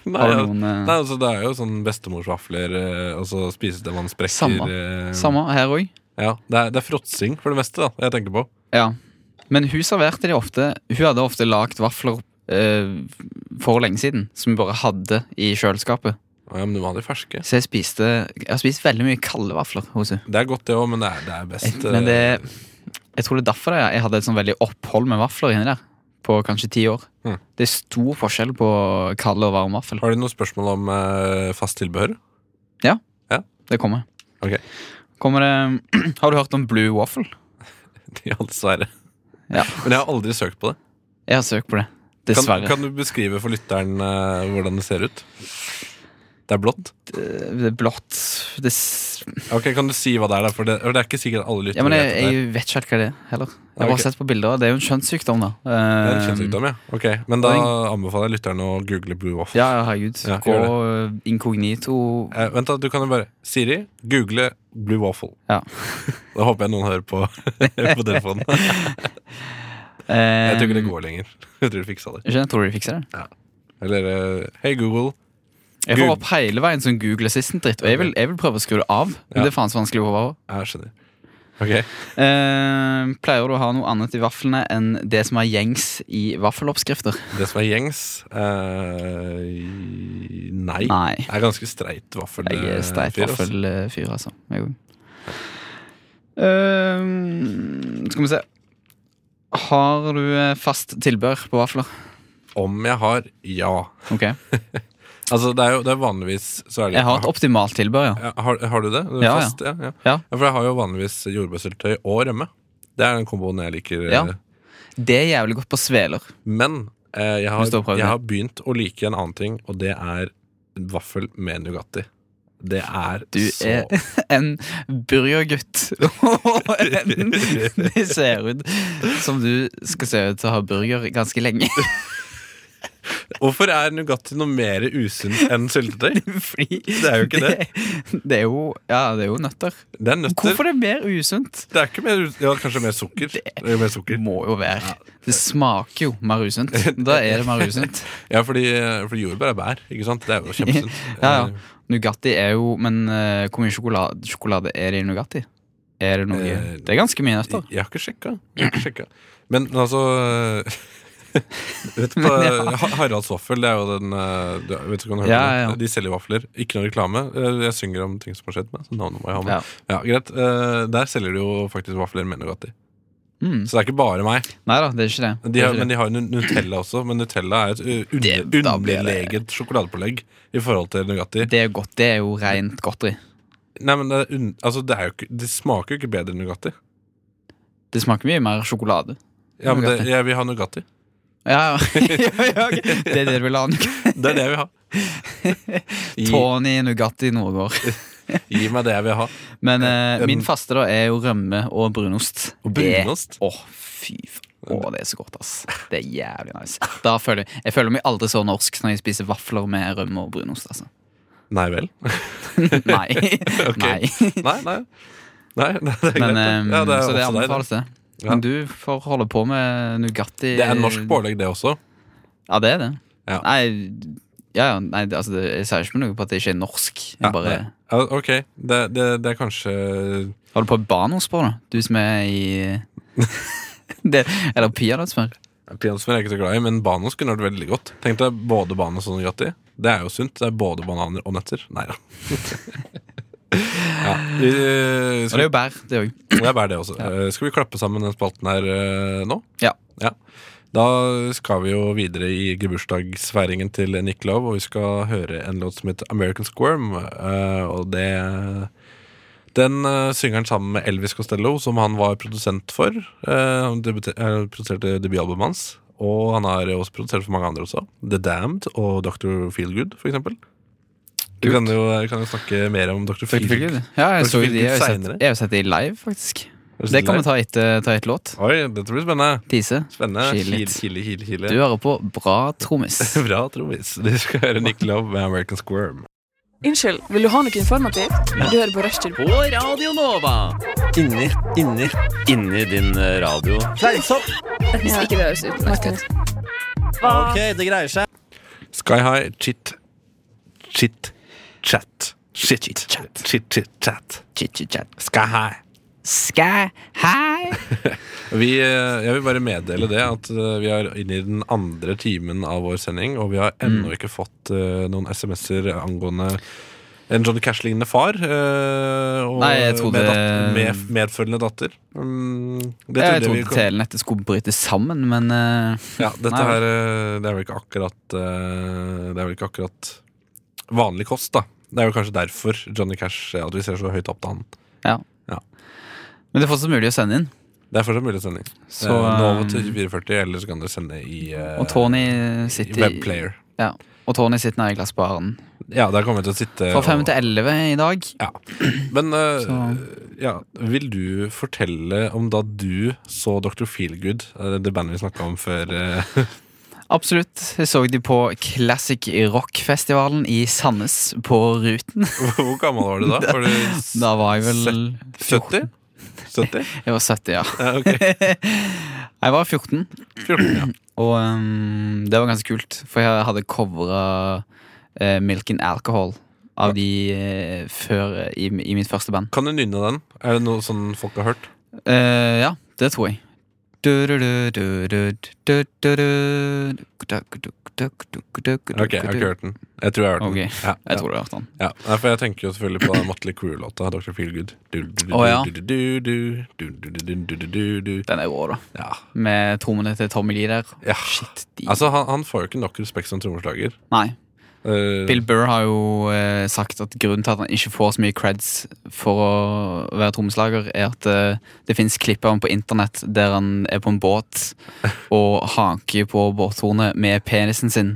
Nei, Har du ja. noen Nei, eh, altså, det er jo sånn bestemorsvafler, eh, og så spises det man sprekker Samme. eh, Samme her òg. Ja, det er, det er fråtsing for det meste, da, jeg tenker på. Ja. Men hun serverte de ofte Hun hadde ofte lagd vafler eh, for lenge siden, som hun bare hadde i kjøleskapet. Ja, men du må ha de ferske. Så jeg spiste Jeg har spist veldig mye kalde vafler hos henne. Det er godt, det òg, men det er, det er best. Men eh, det Jeg tror det er derfor det, jeg hadde et sånn veldig opphold med vafler inni der. På kanskje ti år. Mm. Det er stor forskjell på kald og varm vaffel. Har du noen spørsmål om eh, fast tilbehør? Det kommer. Ok. Kommer det Har du hørt om blue waffle? Ja, dessverre. Ja. Men jeg har aldri søkt på det. Jeg har søkt på det. Kan, Dessverre. kan du beskrive for lytteren eh, hvordan det ser ut? Det er blått? Eh, Det er blått det s Ok, Kan du si hva det er? da? For det, for det er ikke sikkert alle Ja, lyttere men jeg, vet det. jeg vet ikke helt hva det er heller. Jeg har Ok. bare sett på bilder. og Det er jo en kjønnssykdom, da. Det er en kjønnssykdom, ja. Ok, Men da anbefaler jeg lytteren å google Blue Waffle. Eh, Ja, ja, herregud. Ja, Gå gjør inkognito Eh, vent, da, du kan jo bare Siri, google Blue Waffle. Ja. Da håper jeg noen hører på, på telefonen. Jeg tror ikke det går lenger. Jeg tror du fiksa det. Eh, Ikke, jeg tror de fikser det. Eller eh, Hei, Google. Jeg får Google. opp hele veien sånn Google Assistant-dritt, og jeg vil, jeg vil prøve å skru det av. Men Ja. det er faen så vanskelig å overvåke. Jeg skjønner. Ok, Eh, pleier du å ha noe annet i vaflene enn det som er gjengs i vaffeloppskrifter? Det som er gjengs eh, Nei. Nei. Jeg er ganske streit vaffel. Jeg er streit fyr, ass. vaffelfyr, altså. Jeg òg. Eh, skal vi se. Har du eh, fast tilbør på vafler? Om jeg har ja. Ok. Altså, det er jo det er vanligvis så er det, Jeg har et optimalt tilbør, ja. Ja, har, har du det? Er det Ja, ja. fast? Ja, ja. Ja. For jeg har jo vanligvis jordbærsyltetøy og rømme. Det er den komboen jeg liker. eh, Ja. Det er jævlig godt på sveler. Men eh, jeg, Hvis du har har, prøvd jeg det. har begynt å like en annen ting, og det er vaffel med Nugatti. Det er Du så er en burgergutt. Og en- Det ser ut som du skal se ut til å ha burger ganske lenge. Hvorfor er Nugatti noe mer usunt enn syltetøy? Fordi Det er jo ikke det. Det, det er jo, ja, det er jo nøtter. Det er nøtter. Hvorfor er det mer usunt? Det er ikke mer, us- ja, kanskje mer sukker. Det er mer Det sukker. må jo være. Det smaker jo mer usunt. Da er det mer usunt. Ja, fordi, eh, fordi jordbær er bær, ikke sant? Det er jo kjempesunt. Eh, Ja, ja. Nugatti er jo Men eh, hvor mye sjokolade, sjokolade er det i Nugatti? Er det noe Eh, Det er ganske mye nøtter. Jeg, jeg har ikke sjekka. Jeg har ikke sjekka. Men altså vet du, på, Ha- Haralds Vaffel, det er jo den eh, du, vet du, hva den heter? Ja, ja, ja. De selger vafler. Ikke noe reklame. Eh, Jeg synger om ting som har skjedd meg. Så navnet må jeg ha med. Ja. Ja, greit. Eh, Der selger de jo faktisk vafler med Nugatti. Mm. Så det er ikke bare meg. Nei da, det er ikke det. De det, har, er men ikke det. de har jo nu- Nutella også. Men Nutella er et eh, Det- under, da blir det- underlegent sjokoladepålegg i forhold til Nugatti. det er godt. Det er jo rent godteri. Nei, men det, er un, altså, det, er jo ikke, det smaker jo ikke bedre enn Nugatti. Det smaker mye mer sjokolade. Ja, men det, Nugatti. jeg vil ha Nugatti. Ja, ja, ja ok. Det er det du vil ha. Det er det jeg vil ha. Gi, Tony Nugatti Nordgård. gi meg det jeg vil ha. Men eh, En- min faste da er jo rømme og brunost. Um, Og brunost? Det- Å, fy f- Å, det er så godt, ass. Det er jævlig nice. Da føler jeg, jeg føler meg aldri så norsk når jeg spiser vafler med rømme og brunost, altså. Nei vel. Nei. Ok. Nei. Nei, nei. Nei, nei, det er Men, greit. eh, Ja, det er så det også deg, anbefales, det. Ja. Men du får holde på med Nugatti. Det er norsk pålegg, det også. Ja, det er det. Ja. Nei, ja, ja, nei det- altså, det, jeg sier ikke noe på at det ikke er norsk. Ja, Jeg bare Ja, ok, det, det, det er kanskje holder på med banespor, da. Du som er i det, Eller peanøttsmør. Peanøttsmør er jeg ikke så glad i, men banos kunne vært veldig godt. Tenk deg både banos og Nugatti. Det er jo sunt. Det er både bananer og nøtter. Nei da. ja. vi- Og det er Skal, jo bær, det òg. det er bare det også. Eh, Skal vi klappe sammen den spalten her eh, nå? Ja. Ja. Da skal vi jo videre i gebursdagsfeiringen til Niklov, og vi skal høre en låt som heter American Squirm. eh, og det Den eh, synger han sammen med Elvis Costello, som han var produsent for. Eh, han debuter- eh, produserte debutalbumet hans. Og han har også produsert for mange andre også. The Damned og Dr. Feelgood, for eksempel. Vi kan jo, vi kan jo snakke mer om Dr. Feelgood. Ja, jeg, så jo de, Hvilken jeg, har jo sett, seinere? jeg har jo sett de live, faktisk. Det kan vi ta etter ta etter låt. Oi, dette blir spennende. Tise, Spennende. Kile Kile, litt. kile, kile, kile. du hører på Bra trommis. Bra, Tromis. Du skal høre Nick Love med American Squirm. Unnskyld, vil du ha noe informativt? Du hører på Rushtid. Inni din radio. Hvis ikke det høres ut. Martin. Ok, det greier seg. Sky High, chit, chit, chat. Shit, chit, chat. Chit, chit, chat. Chit-chit-chat. Sky High. Sky high. Vi, eh, jeg vil bare meddele det at eh, vi er inne i den andre timen av vår sending, og vi har ennå Mm. ikke fått eh, noen SMS-er angående en Johnny Cash-lignende far. eh, og Nei, jeg trodde- med dat med, medfølgende datter. Mm, det Jeg trodde vi trodde kom- telenettet skulle bryte sammen, men eh, Ja, dette Nei, her eh, Det er vel ikke akkurat eh, Det er vel ikke akkurat vanlig kost, da. Det er jo kanskje derfor Johnny Cash eh, At vi ser så høyt opp til han. Men det er fortsatt mulig å sende inn. Det er fortsatt mulig sending. Så, Så, Nova til eh, 440, eller så kan dere sende i eh, og Tony i sitter i- webplayer. ja, Og Tony sitter nede i glassbaren. Ja, der kommer vi til å sitte Fra fem og- til elleve i dag. ja. Men eh, Så- ja, vil du fortelle om da du så Dr. Feelgood, eh, det bandet vi snakka om før eh, Absolutt. Jeg så de på Classic Rock-festivalen i Sandnes, på Ruten. Hvor gammel var du da? Var du s- Da var jeg vel 70? 70? Jeg var 70, ja. Ja, ok. Jeg var 14, 14, ja. og ehm, det var ganske kult. For jeg hadde covra eh, Milk and Alcohol av de eh, før eh, i, i mitt første band. Kan du nynne den? Er det noe sånn folk har hørt? Eh, ja, det tror jeg. Ok, Ok, jeg har ikke hørt den. Jeg tror jeg har hørt den. Ja, Jeg tror du har hørt den. ja. Ja. Nei, for jeg tenker jo selvfølgelig på den Motley Crew-låta, Dr. Feelgood. Du, du, du, Å, ja. du, du, du, du, du, du, du, du, du, du. Den er rå, da. Ja. Med trommene til Tommy Lee der. Ja. Shit, de Altså, han, han får jo ikke nok respekt som trommeslager. Nei. Eh, Bill Burr har jo eh, sagt at grunnen til at han ikke får så mye creds for å være trommeslager, er at eh, det fins klipp av ham på internett der han er på en båt og hanker på båthornet med penisen sin,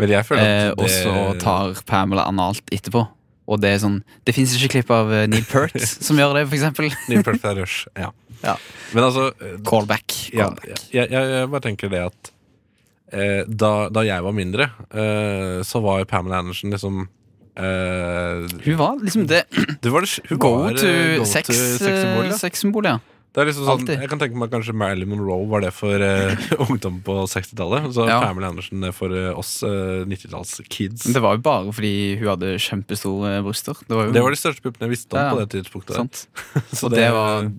men jeg føler eh, at og så tar Pamela analt etterpå. Og det er sånn Det fins ikke klipp av eh, Neil Peart som gjør det, for eksempel. Neil Peart er Rush. Ja. Ja. Men altså eh, Callback. ja, callback. jeg, jeg, jeg bare tenker det at eh, da, da jeg var mindre, eh, så var Pamela Andersen liksom eh, Hun var liksom det det var det, sj- hun go var, eh, to go sex, to sexsymbol, eh, ja. sexsymbol, ja. Det er liksom sånn, Alltid. jeg kan tenke meg at kanskje Marilyn Monroe var det for eh, ungdom på 60-tallet. Så Ja. Pamela Andersen er for eh, oss eh, 90-tallskids. Men Det, Det var jo bare fordi hun hadde kjempestore bryster. Det var jo det var de største puppene jeg visste om Ja, ja. på det tidspunktet. sant. Så Og det var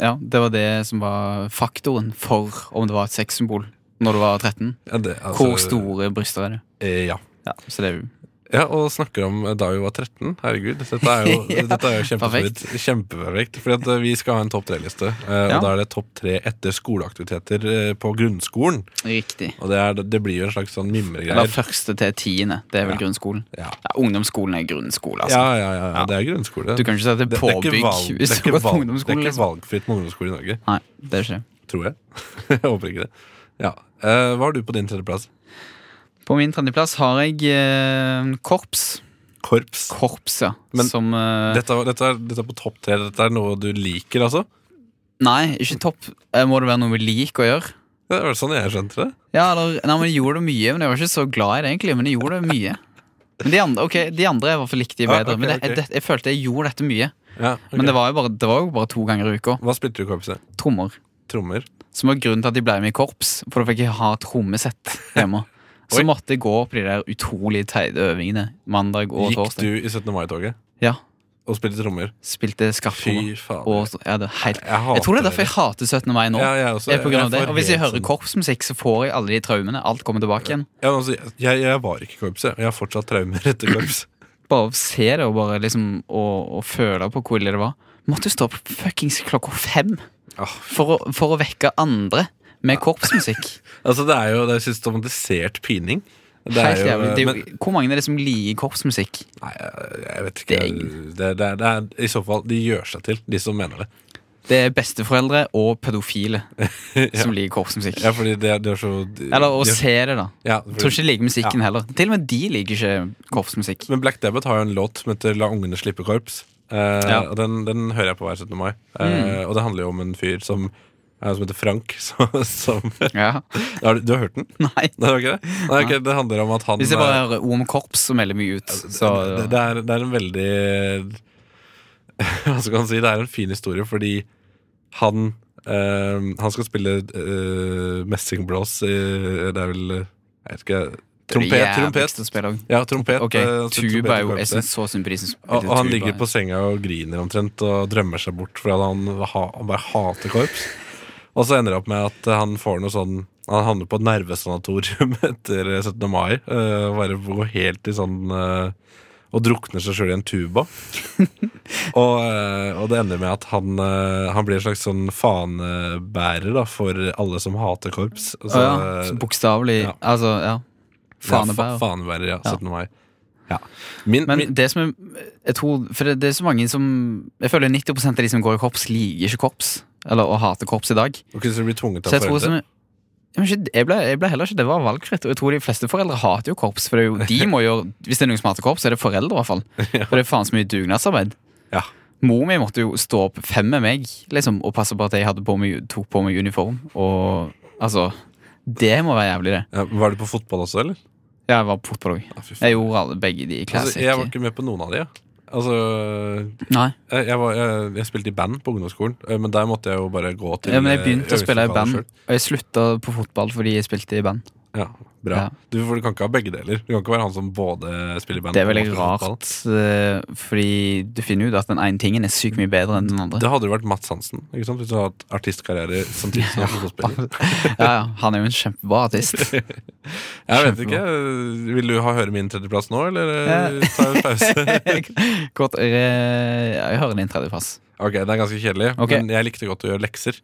Ja, det var det som var faktoren for om det var et sexsymbol når du var 13. ja, det, altså, Hvor store bryster er det? eh, ja. Ja, så det er jo ja, og snakker om eh, da vi var 13. Herregud, dette er jo, Ja, dette er jo kjempeperfekt. perfekt. Kjempeperfekt. Fordi at eh, vi skal ha en topp tre-liste. eh, Ja. Og da er det topp tre etter skoleaktiviteter eh, på grunnskolen. riktig. Og det, er, det blir jo en slags sånn Eller mimregreier. første til tiende. Det er vel Ja. grunnskolen. Ja. Ja, ungdomsskolen er grunnskole, Ja, altså. ja, ja, ja, det er grunnskole. Du kan ikke si at det Det, er det, er ikke påbygg valg, det, hvis er du ikke går valg, på det er ungdomsskolen. ikke Liksom. valgfritt med ungdomsskole i Norge. Nei, det er ikke det. Tror jeg. jeg håper ikke det. Ja. Eh, hva har du på din tredjeplass? På min tredjeplass har jeg eh, korps. Korps. Korps, ja. Men som eh, Dette, er- dette, er, dette er på topp tre. Dette er noe du liker, altså? Nei, ikke topp. Eh, Må det være noe vi liker å gjøre? Ja, Det var sånn jeg skjønte det. Ja, eller, nei, men jeg gjorde det mye, men jeg var ikke så glad i det egentlig, men jeg gjorde det mye. Men de andre, ok, de andre jeg i hvert fall likte de Ja, bedre, Ah, ok, men det, ok. det, jeg følte jeg gjorde dette mye. Ja, ok. Men det var, jo bare, det var jo bare to ganger i uka. Hva spilte du i korpset? Trommer. Trommer? Som var grunnen til at jeg ble med i korps, for da fikk jeg ha trommesett hjemme. Så Oi. måtte jeg gå på de der utrolig teite øvingene mandag og Gikk torsdag. du i 17. mai-toget Ja, og spilte trommer? Spilte Fy skarptrommer. faen. Og så- Ja, det er helt Jeg hater Jeg tror det er derfor det. jeg hater 17. mai nå. Ja, jeg også. er på grunn av det. får Og hvis jeg helt hører sånn- korpsmusikk, så får jeg alle de traumene. Alt kommer tilbake igjen. ja, men altså, jeg, jeg var ikke i korpset. Jeg har fortsatt traumer etter korps. bare å se det og bare liksom og, og føle på hvor ille det var. Måtte jo stå opp fuckings klokka fem Ah, for å, for å vekke andre med korpsmusikk. Altså, det er jo det er systematisert pining. Det er Helt jo- eh, jævlig. Det er men- jo, hvor mange er det som liker korpsmusikk? Nei, jeg jeg vet ikke. Det er- Det, det, det er, I så fall, de gjør seg til, de som mener det. Det er besteforeldre og pedofile som liker korpsmusikk. Ja, fordi de, de er så de, Eller å de er- se det, da. ja, Jeg tror ikke fordi, de liker musikken Ja. heller. Til og med de liker ikke korpsmusikk. Men Black Debbath har jo en låt som heter 'La ungene slippe korps'. Eh, og den, den hører jeg på hver 17. mai. Mm. Eh, Og det handler jo om en fyr som, eh, som heter Frank. Som, som Ja, har du, du har hørt den? nei Nei, det var ikke det? Nei, ok, det handler om at han Hvis jeg bare eh, hører ord om korps, så melder jeg meg ut. Så det, det, er, det er en veldig Hva skal man si? Det er en fin historie fordi han eh, Han skal spille eh, messingblås i Det er vel eh, Jeg vet ikke det Trompet. er trompet. jævligst å spille også. Ja, trompet. Ok, eh, han spiller trompet tuba er i jo Jeg korpset. syns så synd på de som og, og han tuba. ligger på senga og griner omtrent og drømmer seg bort fordi han, ha, han bare hater korps. Og så ender det opp med at eh, han får noe sånn Han havner på et nervesanatorium etter 17. mai. eh, og bare går helt i sånn eh, Og drukner seg sjøl i en tuba. og, eh, og det ender med at han, eh, han blir en slags sånn fanebærer da, for alle som hater korps. Så, eh, Å ja, så bokstavelig ja. Altså, ja. Ja, Fanebær. fa- fanebærer, ja. Ja. 17. mai. Ja. Min, min, Men det som er Jeg tror For det, det er så mange som Jeg føler 90 av de som går i korps, liker ikke korps. Eller å hate korps i dag. Ok, så du blir tvunget av Så jeg tror foreldre? som Ja, men ikke- jeg ble, jeg ble heller ikke Det var valgfritt. Og jeg tror de fleste foreldre hater jo korps. For det er jo, de må gjøre Hvis det er noen som hater korps, så er det foreldre, i hvert fall. For det er faen så mye dugnadsarbeid. Ja. Mor mi måtte jo stå opp fem med meg liksom, og passe på at jeg hadde på meg, tok på meg uniform. Og altså Det må være jævlig, det. Ja, var du på fotball også, eller? Ja, jeg var på fotball òg. Ja, fy faen. Jeg gjorde alle, begge de i altså, classic. jeg var ikke med på noen av de. Ja. Altså, Nei, jeg, jeg, var, jeg, jeg spilte i band på ungdomsskolen, eh, men der måtte jeg jo bare gå til ja, men jeg begynte å eh, spille i band, øvingslokalet selv. og jeg slutta på fotball fordi jeg spilte i band. Ja, bra. Ja. Du, for du kan ikke ha begge deler. Du kan ikke være han som både spiller i band Det er veldig og spiller fotball. rart, eh, fordi du finner ut at den ene tingen er sykt mye bedre enn den andre. Det hadde jo vært Mats Hansen, ikke sant? hvis du hadde hatt artistkarriere samtidig som fotballspiller. Ja, ja, Han er jo en kjempebra artist. Jeg vet ikke. eh, Vil du ha høre min tredjeplass nå, eller eh, ta en pause? Godt, eh, jeg hører din tredjeplass. ok, det er ganske kjedelig, Ok. men jeg likte godt å gjøre lekser.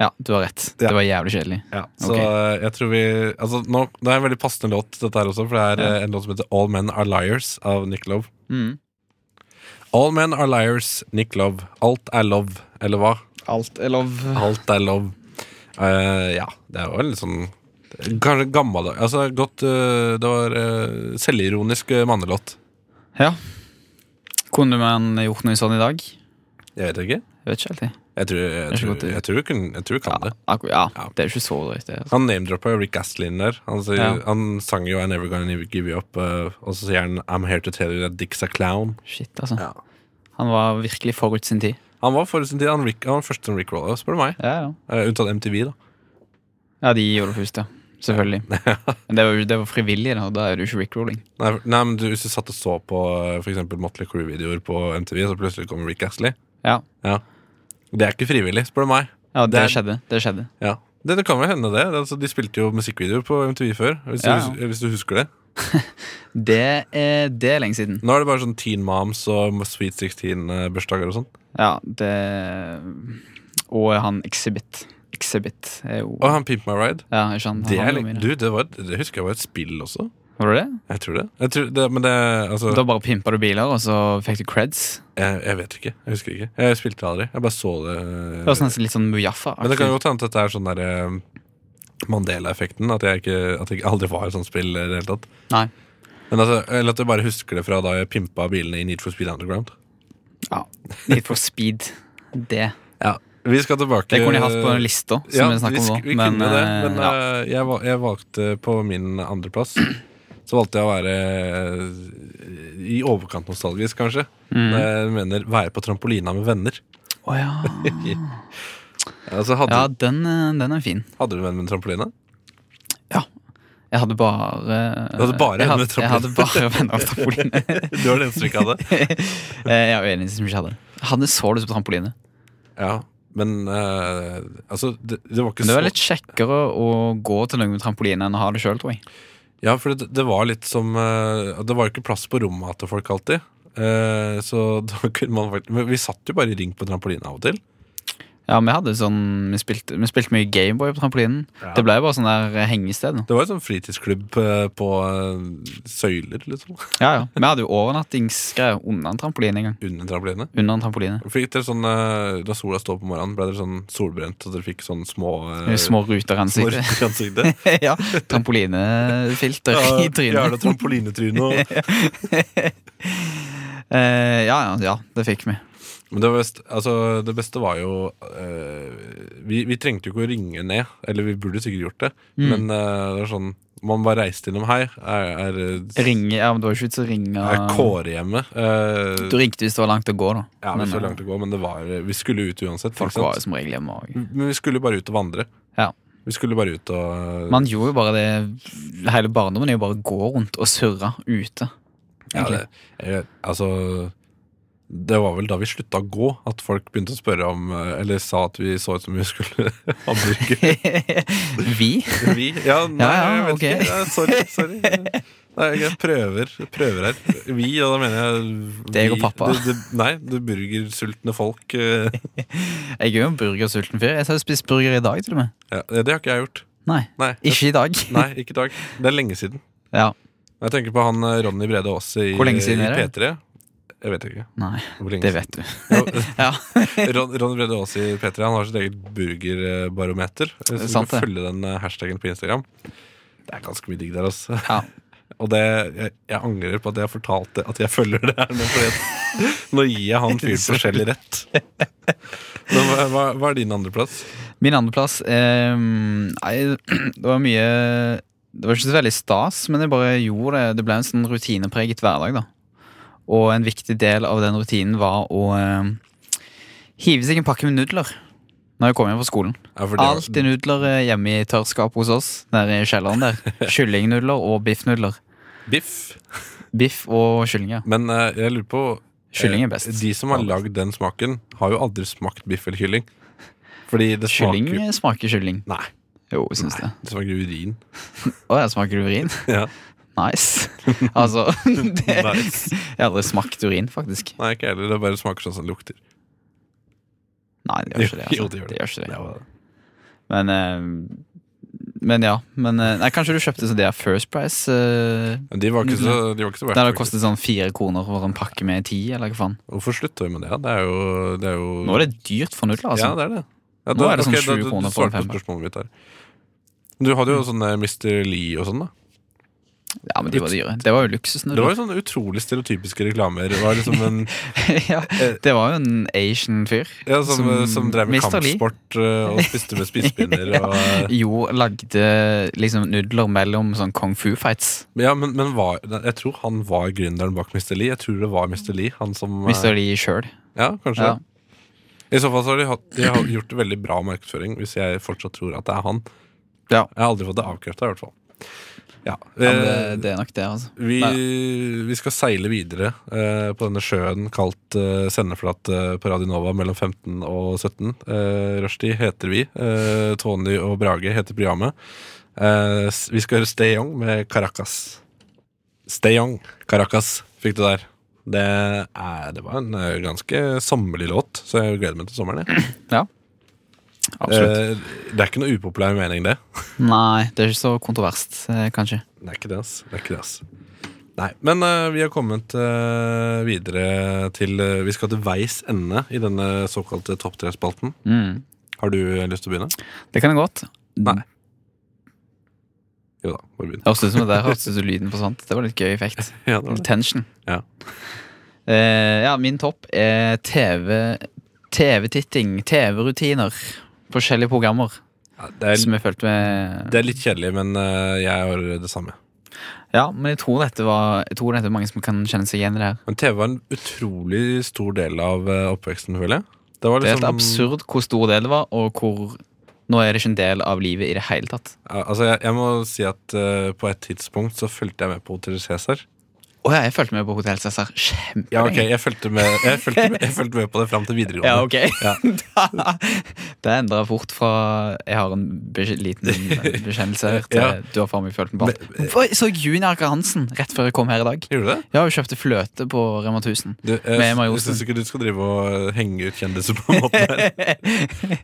Ja, du har rett. Ja. Det var jævlig kjedelig. Ja, så Ok. eh, jeg tror vi altså, nå, Det er en veldig passende låt, dette her også, for det er eh, en låt som heter All Men Are Liars av Nick Love. Mm. All Men Are Liars, Nick Love. Alt er love, eller hva? Alt er love. Alt er love. Eh, ja, det er jo en litt sånn Kanskje gammel Altså godt eh, Det var eh, selvironisk eh, mannelåt. Ja. Kunne man gjort noe sånn i dag? Jeg vet ikke. Jeg vet ikke alltid. Jeg tror, jeg Det er så tror, godt, det. jeg tror, du, kan, jeg tror du kan det. Akkur ja, Ja. det er jo ikke så drøyt, det. Altså. Han name-droppa jo Rick Astley inn der. Han, sier, Ja. han sang jo 'I Never Gonna Give You Up', eh, og så sier han 'I'm Here To Tell You That Dick's A Clown'. Shit, altså. Ja. Han var virkelig forut sin tid. Han var forut sin tid. Han, Rick, han var første Rick Roller, spør du meg. Ja, ja. Eh, unntatt MTV, da. ja de gjorde det først, ja. Selvfølgelig. Men det var, jo- det var frivillig, da. og Da er det jo ikke rickrolling. Nei, for- nei men du, Hvis du satt og så på eh, for eksempel Motley Crew-videoer på MTV, så plutselig kom Rick Astley. Ja. Det er ikke frivillig, spør du meg. ja, det Det er- skjedde. Det skjedde. Ja. Det, det kan vel hende, det. Altså, de spilte jo musikkvideoer på MTV før. Hvis, Ja, ja. du, hus- hvis du husker det. Det er, det er lenge siden. Nå er det bare sånn Teen Moms og Sweet 16-bursdager og sånn. Ja, det Og han Exhibit. Exhibit er jo Og han Pimp My Ride. Ja, ikke han? Det, er, han var jo lenge- med i du, det. det, var, et- det husker jeg var et spill også. Var det det? Jeg tror det. Jeg tror det men det altså, Da bare pimpa du biler, og så fikk du creds? jeg, jeg vet ikke. Jeg husker ikke. Jeg spilte det aldri. Jeg bare så det. Det var nesten litt sånn Mujaffa. Men det kan jo godt hende at dette er sånn der eh, Mandela-effekten. At, jeg ikke- at det ikke aldri var et sånt spill i det hele tatt. Nei. Men altså, eller at jeg bare husker det fra da jeg pimpa bilene i Need for Speed Underground. Ja. Need for speed. Det. Ja, Vi skal tilbake Det kunne jeg hatt på den lista som Ja, vi snakker om nå. sk- vi Men, kunne det, eh, men ja. eh, jeg, val- jeg valgte på min andreplass Så valgte jeg å være eh, i overkant nostalgisk, kanskje. Mm. Når Jeg mener være på trampolina med venner. Å ja. Altså, hadde, ja den, eh, den er fin. hadde du venn med trampoline? Jeg hadde bare Du hadde bare jeg venner hadde, med trampoline. jeg hadde bare venner med trampoline. Du var den eneste som ikke hadde. Eh, jeg er jo enig som ikke hadde det. Jeg hadde så lyst på trampoline. Ja, men eh, altså, det, det var ikke Men det var så litt kjekkere å gå til noen med trampoline enn å ha det sjøl, tror jeg. Ja, for det, det var litt som eh, Det var jo ikke plass på rommet til folk alltid. Eh, så da kunne man faktisk Men vi satt jo bare i ring på trampoline av og til. Ja, vi hadde sånn Vi spilte, vi spilte mye Gameboy på trampolinen. Det ble jo bare sånn der hengested. nå. Det var jo sånn fritidsklubb eh, på eh, søyler, liksom. Ja, ja. Vi hadde jo overnattingsgreier under en trampoline en gang. Under trampoline. Under en trampoline. Fikk dere sånn eh, Da sola står på morgenen, ble dere sånn solbrent, og dere fikk sånn små eh, Med Små ruter i små ansiktet. ruter i ansiktet? ja, trampolinefilter Ja, i Jævla trynet. trampolinetryne og Eh, ja, ja, ja, det fikk vi. Men det, var best, altså, det beste var jo eh, vi, vi trengte jo ikke å ringe ned, eller vi burde sikkert gjort det, Mm. men eh, det var sånn Man bare reiste innom Hei, er, er, Ringe, ja, men det var ikke vits å ringe er Kåre hjemme? Eh, Du ringte hvis det var langt å gå, da. ja, men så eh, langt å gå, men det var, vi skulle ut uansett. folk ikke var jo sant? Mm. som regel hjemme òg. Men vi skulle bare ut og vandre. Ja. Vi skulle bare ut og eh, Man gjorde jo bare det Hele barndommen er jo bare å gå rundt og surre ute. ja, egentlig. det, jeg, Altså det var vel da vi slutta å gå, at folk begynte å spørre om eh, Eller sa at vi så ut som vi skulle hamburger. vi? Vi? Ja, nei, ja, jeg vet ok. ikke. Ja, sorry. sorry. Nei, jeg prøver, prøver her. Vi, og da mener jeg vi, Deg og pappa. Det, det, nei, det burgersultne folk. eh, Jeg er jo en burgersulten fyr. Jeg har jo spist burger i dag, til og med. Ja, det har ikke jeg gjort. Nei, Nei, jeg, ikke i dag. nei ikke i dag. Det er lenge siden. Ja, Jeg tenker på han eh, Ronny Brede Aase i, Hvor lenge siden i er det? P3. Jeg vet ikke. nei, Hvor lenge det vet du. siden. Ja, Ron, Ronny Brede Aase i P3 Han har sitt eget burgerbarometer. Så er du sant, kan det. følge den eh, hashtaggen på Instagram. Det er ganske mye digg der, altså. ja. Og det, jeg, jeg angrer på at jeg fortalte at jeg følger det her nå. Fordi at, nå gir jeg han fyren forskjellig rett. Men hva, hva, hva er din andreplass? Min andreplass eh, Nei, det var mye Det var ikke så veldig stas, men jeg bare gjorde det. Det ble en sånn rutinepreget hverdag, da. Og en viktig del av den rutinen var å eh, hive seg en pakke med nudler når jeg kom hjem fra skolen. Ja, for det var- Alltid nudler eh, hjemme i tørrskapet hos oss, nede i kjelleren der. Kyllingnudler og biffnudler. Biff. Biff og kylling, ja. Men eh, jeg lurer på eh, Kylling er best. De som har lagd den smaken, har jo aldri smakt biff eller kylling. Fordi det Kylling smaker jo smaker kylling. Nei, Jo, syns det. det smaker urin. Å ja, smaker det urin? Ja. Nice. Altså det, Nice. Jeg har aldri smakt urin, faktisk. Nei, ikke heller. Det bare smaker sånn som det lukter. Nei, det gjør ikke det. Altså. Jo, det gjør det. gjør ikke det. Det var- Men eh, Men ja. Men eh, nei, kanskje du kjøpte så det er First Price? eh, De var ikke så, de var ikke så der det verdt, kostet sånn fire kroner for en pakke med ti, eller hva faen. faktisk. Hvorfor slutter vi med det? da? Det er jo, det er jo Nå er det dyrt for nudler, altså. Ja, det er det. Ja, Nå er det sånn ok, da- 20 du- kroner Du for en svarte på femmer. Mm. spørsmålet mitt her. Du hadde jo sånn sånne Mr. Lee og sånn, da. Ja, men de var dyre. Det var jo Det var luksusnudler. jo sånne utrolig stereotypiske reklamer. Det var liksom en ja, det var jo en Asian fyr. ja, som, eh, som, drev med Mr. Lee. kampsport eh, og spiste med spisepinner og eh, Jo, lagde liksom nudler mellom sånn kung fu-fights. Ja, men, men var, jeg tror han var gründeren bak Mr. Lee. Jeg tror det var Mr. Lee. Han som eh, Mr. Lee sjøl. Ja, kanskje. Ja. I så fall så har de, hatt, de har gjort veldig bra markedsføring, hvis jeg fortsatt tror at det er han. Ja. Jeg har aldri fått det avkrefta, i hvert fall. Ja, Ja, men det, eh, det er nok det, altså. vi, vi skal seile videre eh, på denne sjøen kalt eh, Sendeflat eh, på Radio Nova mellom 15 og 17. Eh, Rushdie heter vi. Eh, Tony og Brage heter programmet. Eh, s- vi skal høre Stay Young med Caracas. Stay Young, Caracas fikk du der. Det, er, det var en eh, ganske sommerlig låt, så jeg gleder meg til sommeren. Jeg. Absolutt. Eh, det er ikke noe upopulær mening, det. Nei, det er ikke så kontroverst, eh, kanskje. Det er ikke det, ass. Det er ikke det, ass. Nei, men eh, vi har kommet eh, videre til eh, Vi skal til veis ende i denne såkalte topp tre-spalten. Mm. Har du eh, lyst til å begynne? Det kan jeg godt. Nei. Jo da, bare begynn. Hørtes ut som det der hørtes ut som lyden forsvant. Det var litt gøy effekt. Ja, det var det. Tension. Ja. Eh, ja, min topp er TV TV-titting, TV-rutiner. Forskjellige programmer Ja, det, er, som jeg følte med det er litt kjedelig, men eh, jeg har det samme. Ja, men jeg tror dette var Jeg tror dette er mange som kan kjenne seg igjen i det her. Men TV var en utrolig stor del av eh, oppveksten, føler jeg. Det var Det er liksom helt absurd hvor stor del det var, og hvor Nå er det ikke en del av livet i det hele tatt. Ja, Altså, jeg, jeg må si at eh, på et tidspunkt så fulgte jeg med på Hotell Cæsar. Å ja, jeg fulgte med på Hotell Cæsar kjempelenge. Ja, ok, jeg fulgte med, jeg fulgte med, jeg fulgte med på det fram til videregående. Ja, ok. Ja. Da- det endra fort fra Jeg har en bes- liten bekjennelse her til Ja. eh, du har faen meg følt den på alt. Hvorfor så Juni Arker Hansen rett før jeg kom her i dag? Gjorde du det? Ja, hun kjøpte fløte på Rema 1000. Du, jeg Med Emma jeg Johnsen. syns ikke du skal drive og eh, henge ut kjendiser på en måte. her.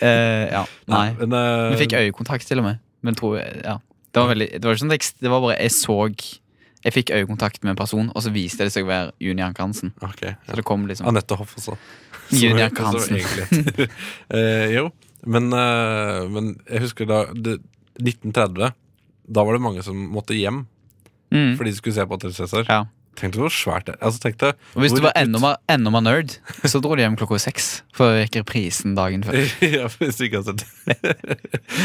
Eh, ja, nei. Men, eh, Vi fikk øyekontakt til og med. Men tror jeg, ja. Det var veldig Det var ikke sånn tekst, det var bare jeg så Jeg fikk øyekontakt med en person, og så viste det seg å være Juni Anker Hansen. ok, ja. Så det kom liksom Anette Hoff også. Juni Som- Anker som Hansen. egentlig heter. Eh, jo, men, eh, men jeg husker da det, 1930. Da var det mange som måtte hjem Mm. fordi de skulle se på Hotel Cæsar. Ja. Tenk deg hvor svært det altså, tenk deg, Og hvis hvor du var ut- enda mer, enda mer nerd, så dro du hjem klokka seks. For jeg gikk reprisen dagen før. ja, hvis du ikke har sett det.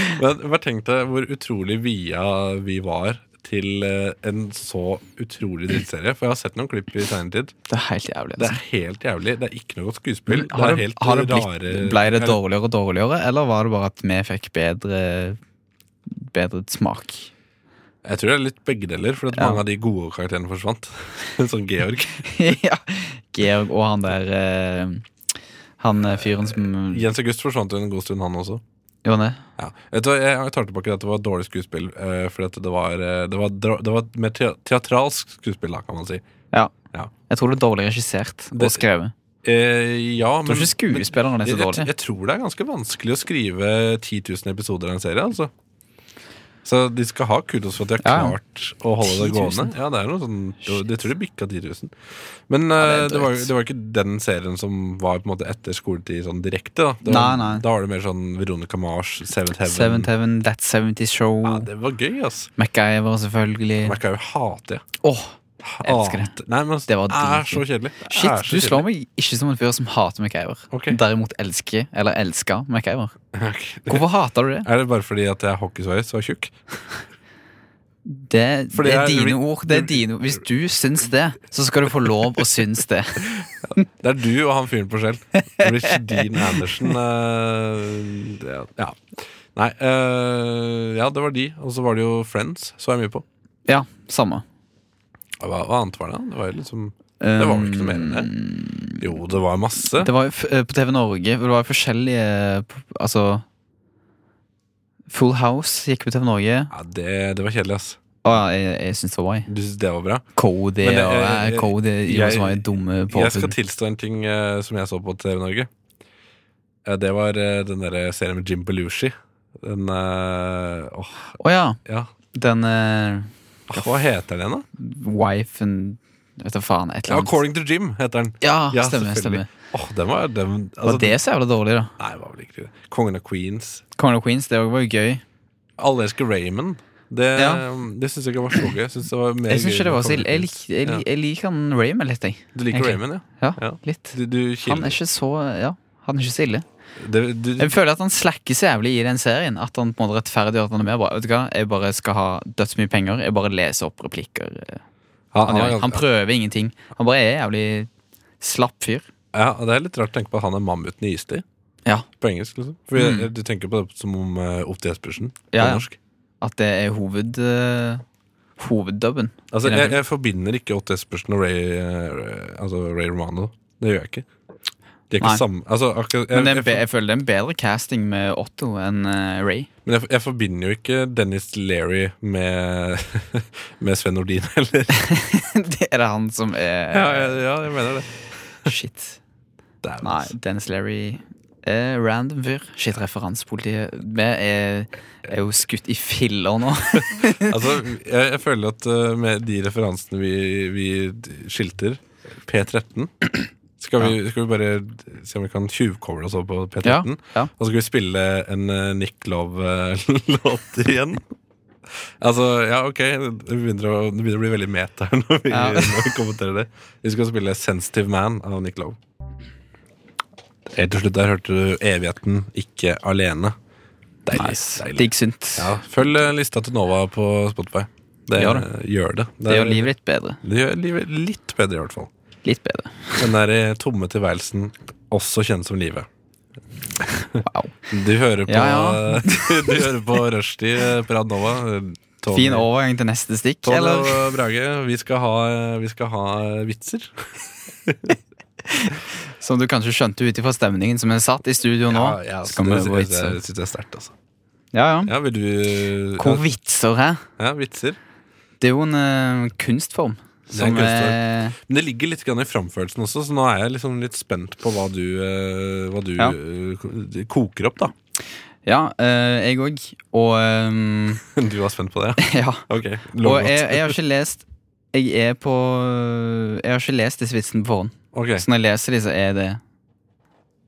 Men bare tenk deg hvor utrolig via vi var til eh, en så utrolig drittserie. For jeg har sett noen klipp i seinere tid. Det er helt jævlig. Det Altså. er helt jævlig. Det er ikke noe godt skuespill. Det har er det, helt eh, har det blitt, rare ble det eller- dårligere og dårligere, eller var det bare at vi fikk bedre Bedre smak? Jeg tror det er litt begge deler, for at Ja. mange av de gode karakterene forsvant. sånn Georg. ja. Georg og han der eh, Han eh, fyren som Jens August forsvant jo en god stund, han også. Jo, nei. Ja. Vet du hva, Jeg tar tilbake at det var dårlig skuespill, eh, fordi at det var, eh, det var, dra- det var mer te- teatralsk skuespill, da, kan man si. Ja. Ja. Jeg tror det er dårlig regissert og Det- skrevet. Eh, ja, Jeg tror ikke skuespillerne er så jeg, jeg, dårlige. jeg tror det er ganske vanskelig å skrive 10 000 episoder av en serie, altså. Så de skal ha kudos for at de har Ja, ja. klart å holde det 10 000. gående. Ja, det er noe sånn, det, tror jeg bikka 10 000. Men eh, det er det, var, drøyt. det var ikke den serien som var på en måte etter skoletid sånn direkte. Da det var, Nei, nei. da var det mer sånn Veronica Mars, Seventh Heaven. Seventh Heaven, That 70's Show, Ja, det var gøy, ass. MacGyver selvfølgelig. Jeg kan jo hate det. Åh, elsker det. Hate- Nei, men altså, Det det, var er dritgøy. så kjedelig. Det Shit, er så du kjedelig. slår meg ikke som en fyr som hater MacGyver. Ok. Derimot elsker, eller elsker, MacGyver. Ok. Hvorfor hater du det? Er det bare fordi at jeg er hockeysveis og er tjukk? Det, Fordi det er jeg- dine ord. det er dine ord. Hvis du syns det, så skal du få lov å synes det. Det er du og han fyren på skjell. Rich Dean Andersen. eh, det- ja. Nei, eh, ja, det var de. Og så var det jo Friends. Så jeg mye på. Ja, samme. Hva, hva annet var det? Det var jo liksom Det var vel ikke noe mer enn det? Jo, det var masse. Um, Det var jo f- eh, på TV Norge, hvor det var forskjellige eh, p- Altså Full House gikk på TV Norge. Ja, det, det var kjedelig, ass. Å ja, jeg, jeg syns det var jeg. Du syns det var bra? Cody Men og det- eh, jeg- Cody jeg- som var jo dumme Jeg skal påfunn. tilstå en ting eh, som jeg så på TV Norge. Eh, Det var eh, den der serien med Jim Belushi. Den eh, åh, Å ja. ja. Den eh, Åh, Hva heter den, da? wifen Vet du faen, et Ja, eller annet. According to Jim heter den. Ja, Ja, stemmer. selvfølgelig. stemmer Åh, den var den, Var altså, det så jævla dårlig, da? Nei, det var vel ikke det. Kongen av Queens. Kongen of Queens, det også var jo gøy. Alle elsker Raymond. Det, Ja. det syns jeg ikke var så gøy. Jeg synes det var mer Jeg synes gøy ikke det med var så Kongen ille. av Queens. Jeg, lik, jeg, lik- Ja. jeg liker han Raymond litt, jeg. Du liker egentlig. Raymond, ja? Ja, Ja. litt. Du, du Han kilder. er ikke så Ja, han er ikke så ille. Det- du, Jeg føler at han slakker så jævlig i den serien. At han på en måte rettferdiggjør at han er med. Bare, vet du hva, jeg bare skal ha dødsmye penger. Jeg bare leser opp replikker. han, Han, han, gjør- er- han prøver ingenting. Han bare er jævlig slapp fyr. ja, det er litt rart å tenke på at han er mammuten i istid. Ja. På engelsk, liksom. For Mm. Du tenker på det som om uh, OTS-bushen på Ja, ja. norsk. At det er hoved eh, hoveddubben. Altså, I den jeg, jeg forbinder ikke OTS-bushen og Ray, eh, altså Ray Romano. Det gjør jeg ikke. De er ikke Nei. samme altså, akkurat, jeg, Men det er jeg, en be, jeg føler det er en bedre casting med Otto enn eh, Ray. men jeg, jeg forbinder jo ikke Dennis Leary med, med Sven Nordin heller. det er det han som er Ja, ja, ja, jeg mener det. Shit. Dæven, Nei, ass. Dennis Larry er random fyr. Shit, referansepolitiet. Vi er, er jo skutt i filler nå. Altså, jeg, jeg føler at eh, med de referansene vi, vi skilter, P13 skal vi, skal vi bare se om vi kan tjuvcover oss over på P13? ja. Og så skal vi spille en eh, Nick Love-låt igjen. Altså, ja, ok, det begynner å, det begynner å bli veldig meta her når vi, Ja. når vi kommenterer det. Vi skal spille 'Sensitive Man' av Nick Love. Helt til slutt der hørte du 'Evigheten ikke alene'. Deilig. deilig. Digg synt. Ja, følg eh, lista til Nova på Spotify. Det Gjør gjør det. det. Gjør det. Det gjør livet litt bedre. det gjør livet litt bedre, i hvert fall. Litt bedre. Den der eh, tomme tilværelsen, også kjent som livet. Wow. Du hører på, Ja, du hører på Rushdie eh, på Radio Nova. Tony- Fin overgang til neste stikk, Tony eller? og Brage, vi skal ha, eh, vi skal ha vitser. Som du kanskje skjønte ut ifra stemningen som er satt i studio nå. ja, så det kan vi syns gå jeg- vitser. det syns jeg er sterkt, altså. Ja, ja. Ja, vil du eh, Hvor vitser her? Ja, vitser. Det er jo en eh, kunstform. er en Som er Men det ligger litt grann i framførelsen også, så nå er jeg liksom litt spent på hva du, eh, hva du Ja. eh, ko- koker opp, da. Ja, eh, jeg òg. Og ehm, Du var spent på det, ja? Ja. Ok, Og lov jeg, jeg har ikke lest Jeg er på øh, Jeg har ikke lest disse vitsene på forhånd. Ok, Så når jeg leser de, så er det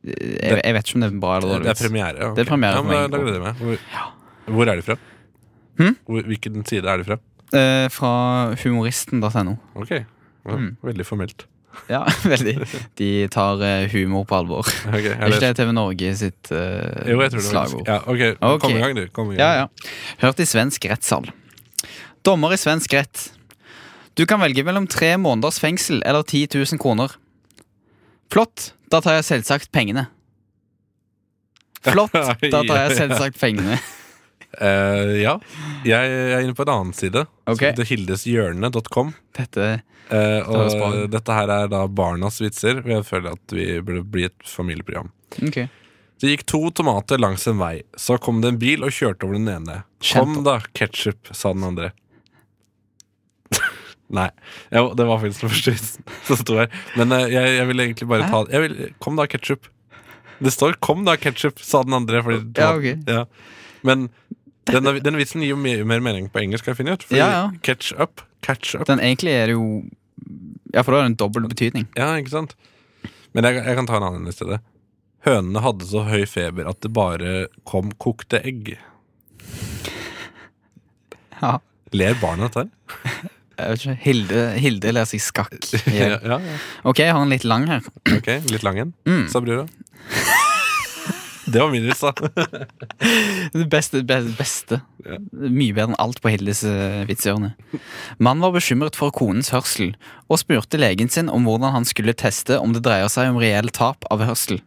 jeg, jeg vet ikke om det er bra eller Det dårlig. er premiere. ja, ok. Det er premiere ja, for men da, meg. da gleder jeg meg. Hvor, hvor er de fra? Hm? Hvor, hvilken side er de fra? Eh, fra humoristen.no. Ok, ja, Mm. Veldig formelt. Ja, veldig. De tar eh, humor på alvor. Ok, jeg Er ikke leser. det TV Norge sitt eh, Jo, jeg tror det var slagord? Ja, ok, Ok. Kom i gang, du. Kom i gang. Ja, ja. Hørt i svensk rettssal. Dommer i svensk rett. Du kan velge mellom tre måneders fengsel eller 10 000 kroner. Flott, da tar jeg selvsagt pengene. Flott, da tar jeg selvsagt pengene. Eh, ja. Jeg, jeg er inne på en annen side, Ok. som heter hildeshjørne.com. Dette Eh, var og spennende. dette her er da barnas vitser. og Jeg føler at vi burde bli et familieprogram. Ok. Det gikk to tomater langs en vei. Så kom det en bil og kjørte over den ene. Kjent Kom da, ketsjup, sa den andre. Nei. Jo, det var faktisk den første vitsen som sto her. Men eh, jeg, jeg ville egentlig bare ta jeg vil, Kom da, ketsjup. Det står 'kom da, ketsjup', sa den andre. Fordi Ja, tomaten- ok. ja. Men denne, denne vitsen gir jo mye mer mening på engelsk, har jeg funnet ut. Fordi Ja, ja. catch up, catch up Den egentlig er det jo Ja, for da er det en dobbel betydning. Ja, ikke sant? Men jeg, jeg kan ta en annen i stedet. Hønene hadde så høy feber at det bare kom kokte egg. Ja. Ler barna dette her? Jeg vet ikke, Hilde, Hilde lærer seg skakk. Ja, igjen. ja, ja. Ok, jeg har en litt lang her. Ok, litt lang en, Mm. sa brura. Det var min vits, da. Det beste, beste, beste. Mye bedre enn alt på Hildes eh, vitsehjørne. Mannen var bekymret for konens hørsel, og spurte legen sin om hvordan han skulle teste om det dreier seg om reell tap av hørsel.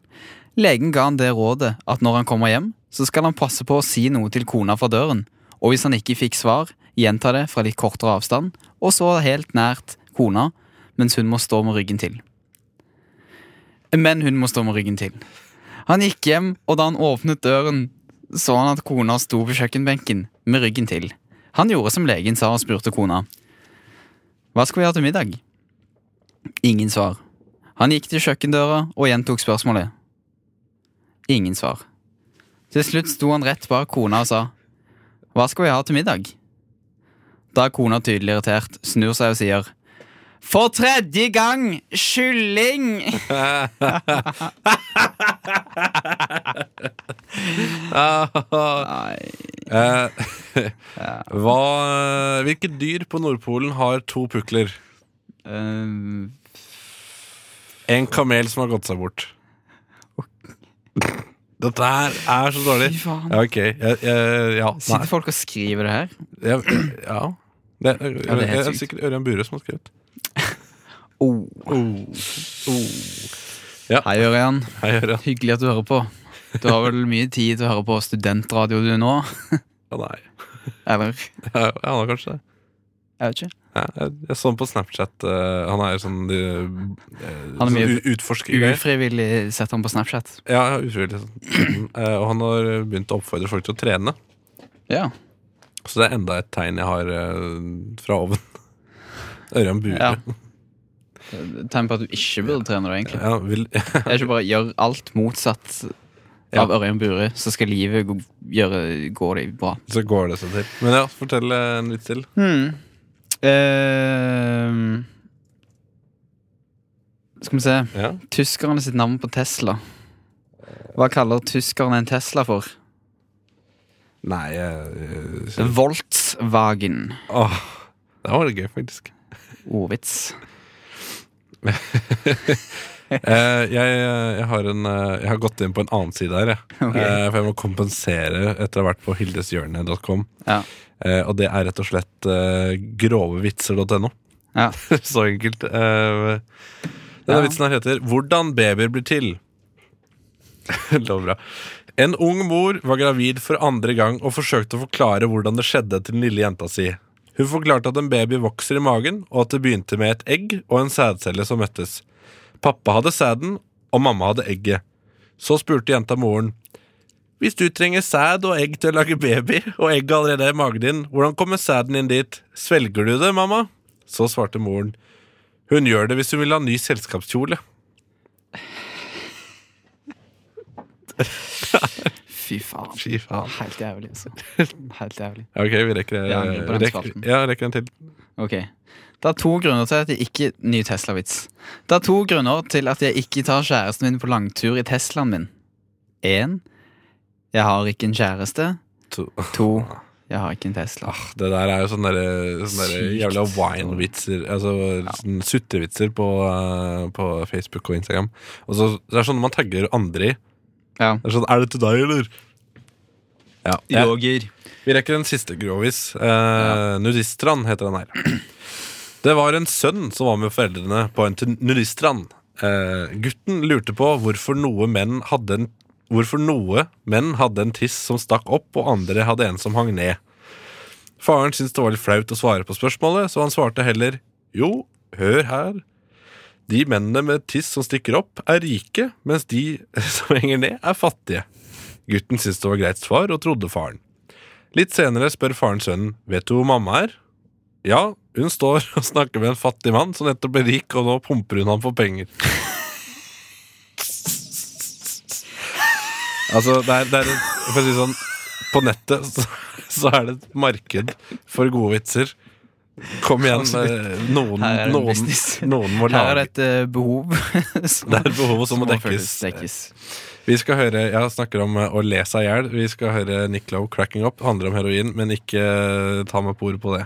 Legen ga han det rådet at når han kommer hjem, så skal han passe på å si noe til kona fra døren, og hvis han ikke fikk svar, gjenta det fra litt kortere avstand, og så helt nært kona, mens hun må stå med ryggen til. Men hun må stå med ryggen til. Han gikk hjem, og da han åpnet døren, så han at kona sto på kjøkkenbenken med ryggen til. Han gjorde som legen sa og spurte kona. Hva skal vi ha til middag? Ingen svar. Han gikk til kjøkkendøra og gjentok spørsmålet. Ingen svar. Til slutt sto han rett bak kona og sa Hva skal vi ha til middag? Da er kona tydelig irritert, snur seg og sier For tredje gang kylling! Nei, Eh, hva, hvilke dyr på Nordpolen har to pukler? eh, En kamel som har gått seg bort. Dette her er så dårlig. Fy faen. Ja, ok. Jeg, jeg, ja, nei. Sitter folk og skriver det her? Jeg, ja. Det, jeg, Ja, det er helt er sykt. sikkert Ørjan Bure som har skrevet. Oh. Ja. Hei, Ørjan. Hei, Ørjan. Hyggelig at du hører på. Du har vel mye tid til å høre på studentradio du nå? Ja, nei. Eller? Ja, han har kanskje det. Jeg vet ikke. Ja, jeg, jeg så han på Snapchat. eh, han er jo sånn uh, Han er mye utforsker. Ufrivillig setter han på Snapchat. Ja, ja, ufrivillig. Sånn. Eh, og han har begynt å oppfordre folk til å trene. Ja. Så det er enda et tegn jeg har eh, fra oven. Ørjan Bure. ja. Ja. Tegn på at du ikke burde trene deg, egentlig. vil, Det er ikke bare gjør alt motsatt av Ørjan Bure, så skal livet gå, gjøre, gå deg bra. så går det seg til. Men ja, fortell eh, en vits til. Hmm. Ehm. skal vi se. Ja. Tyskerne sitt navn på Tesla. Hva kaller tyskerne en Tesla for? Nei eh, eh, Volkswagen. åh, Det var litt gøy, faktisk. Ordvits. Eh, jeg, jeg, har en, eh, jeg har gått inn på en annen side her, jeg. Ok. Eh, for jeg må kompensere etter å ha vært på hildeshjørne.com. Ja. Eh, og det er rett og slett eh, grovevitser.no. Ja. Så enkelt. Eh, denne Ja. vitsen her heter 'Hvordan babyer blir til'. det var bra. En ung mor var gravid for andre gang og forsøkte å forklare hvordan det skjedde til den lille jenta si. Hun forklarte at en baby vokser i magen, og at det begynte med et egg og en sædcelle som møttes. Pappa hadde sæden, og mamma hadde egget. Så spurte jenta moren hvis du trenger sæd og egg til å lage baby, og egget allerede er i magen din, hvordan kommer sæden inn dit? Svelger du det, mamma? Så svarte moren. Hun gjør det hvis hun vil ha ny selskapskjole. Fy faen. Fy faen. Helt jævlig, altså. Helt jævlig. Ja, ok, vi rekker eh, Jeg angrer på vi den rekker, spalten. ja, rekker en til. Ok. Det er to grunner til at jeg ikke Ny Tesla-vits. Det er to grunner til at jeg ikke tar kjæresten min på langtur i Teslaen min. Én Jeg har ikke en kjæreste. To. To Jeg har ikke en Tesla. Ah, det der er jo sånne, der, sånne der Sykt. jævla wine-vitser. Altså sånn sutrevitser på, eh, på Facebook og Instagram. Og så, det er sånn man tagger andre i. Ja. Det er sånn, er det til deg, eller? Ja, jeg, Yoger. Vi rekker en siste grovis. Eh, Nudiststrand heter den her. Det var en sønn som var med foreldrene på en til nudiststrand. Eh, gutten lurte på hvorfor noe menn hadde en Hvorfor noe menn hadde en tiss som stakk opp, og andre hadde en som hang ned. Faren syntes det var litt flaut å svare på spørsmålet, så han svarte heller jo, hør her. De mennene med tiss som stikker opp, er rike, mens de som henger ned, er fattige. Gutten syntes det var greit svar, og trodde faren. Litt senere spør faren sønnen Vet du hvor mamma er? Ja, hun står og snakker med en fattig mann som nettopp ble rik, og nå pumper hun ham for penger. altså, det er, det er For å si det sånn På nettet så, så er det et marked for gode vitser. Kom igjen, eh, noen, Altså, Her er det en noen, business. noen må Her er lage det et eh, behov. Det er et behov som må dekkes. føles- dekkes. Vi skal høre, Jeg snakker om eh, å le seg i hjel. Vi skal høre Nick Lowe 'Cracking Up'. Handler om heroin, men ikke eh, ta meg på ordet på det.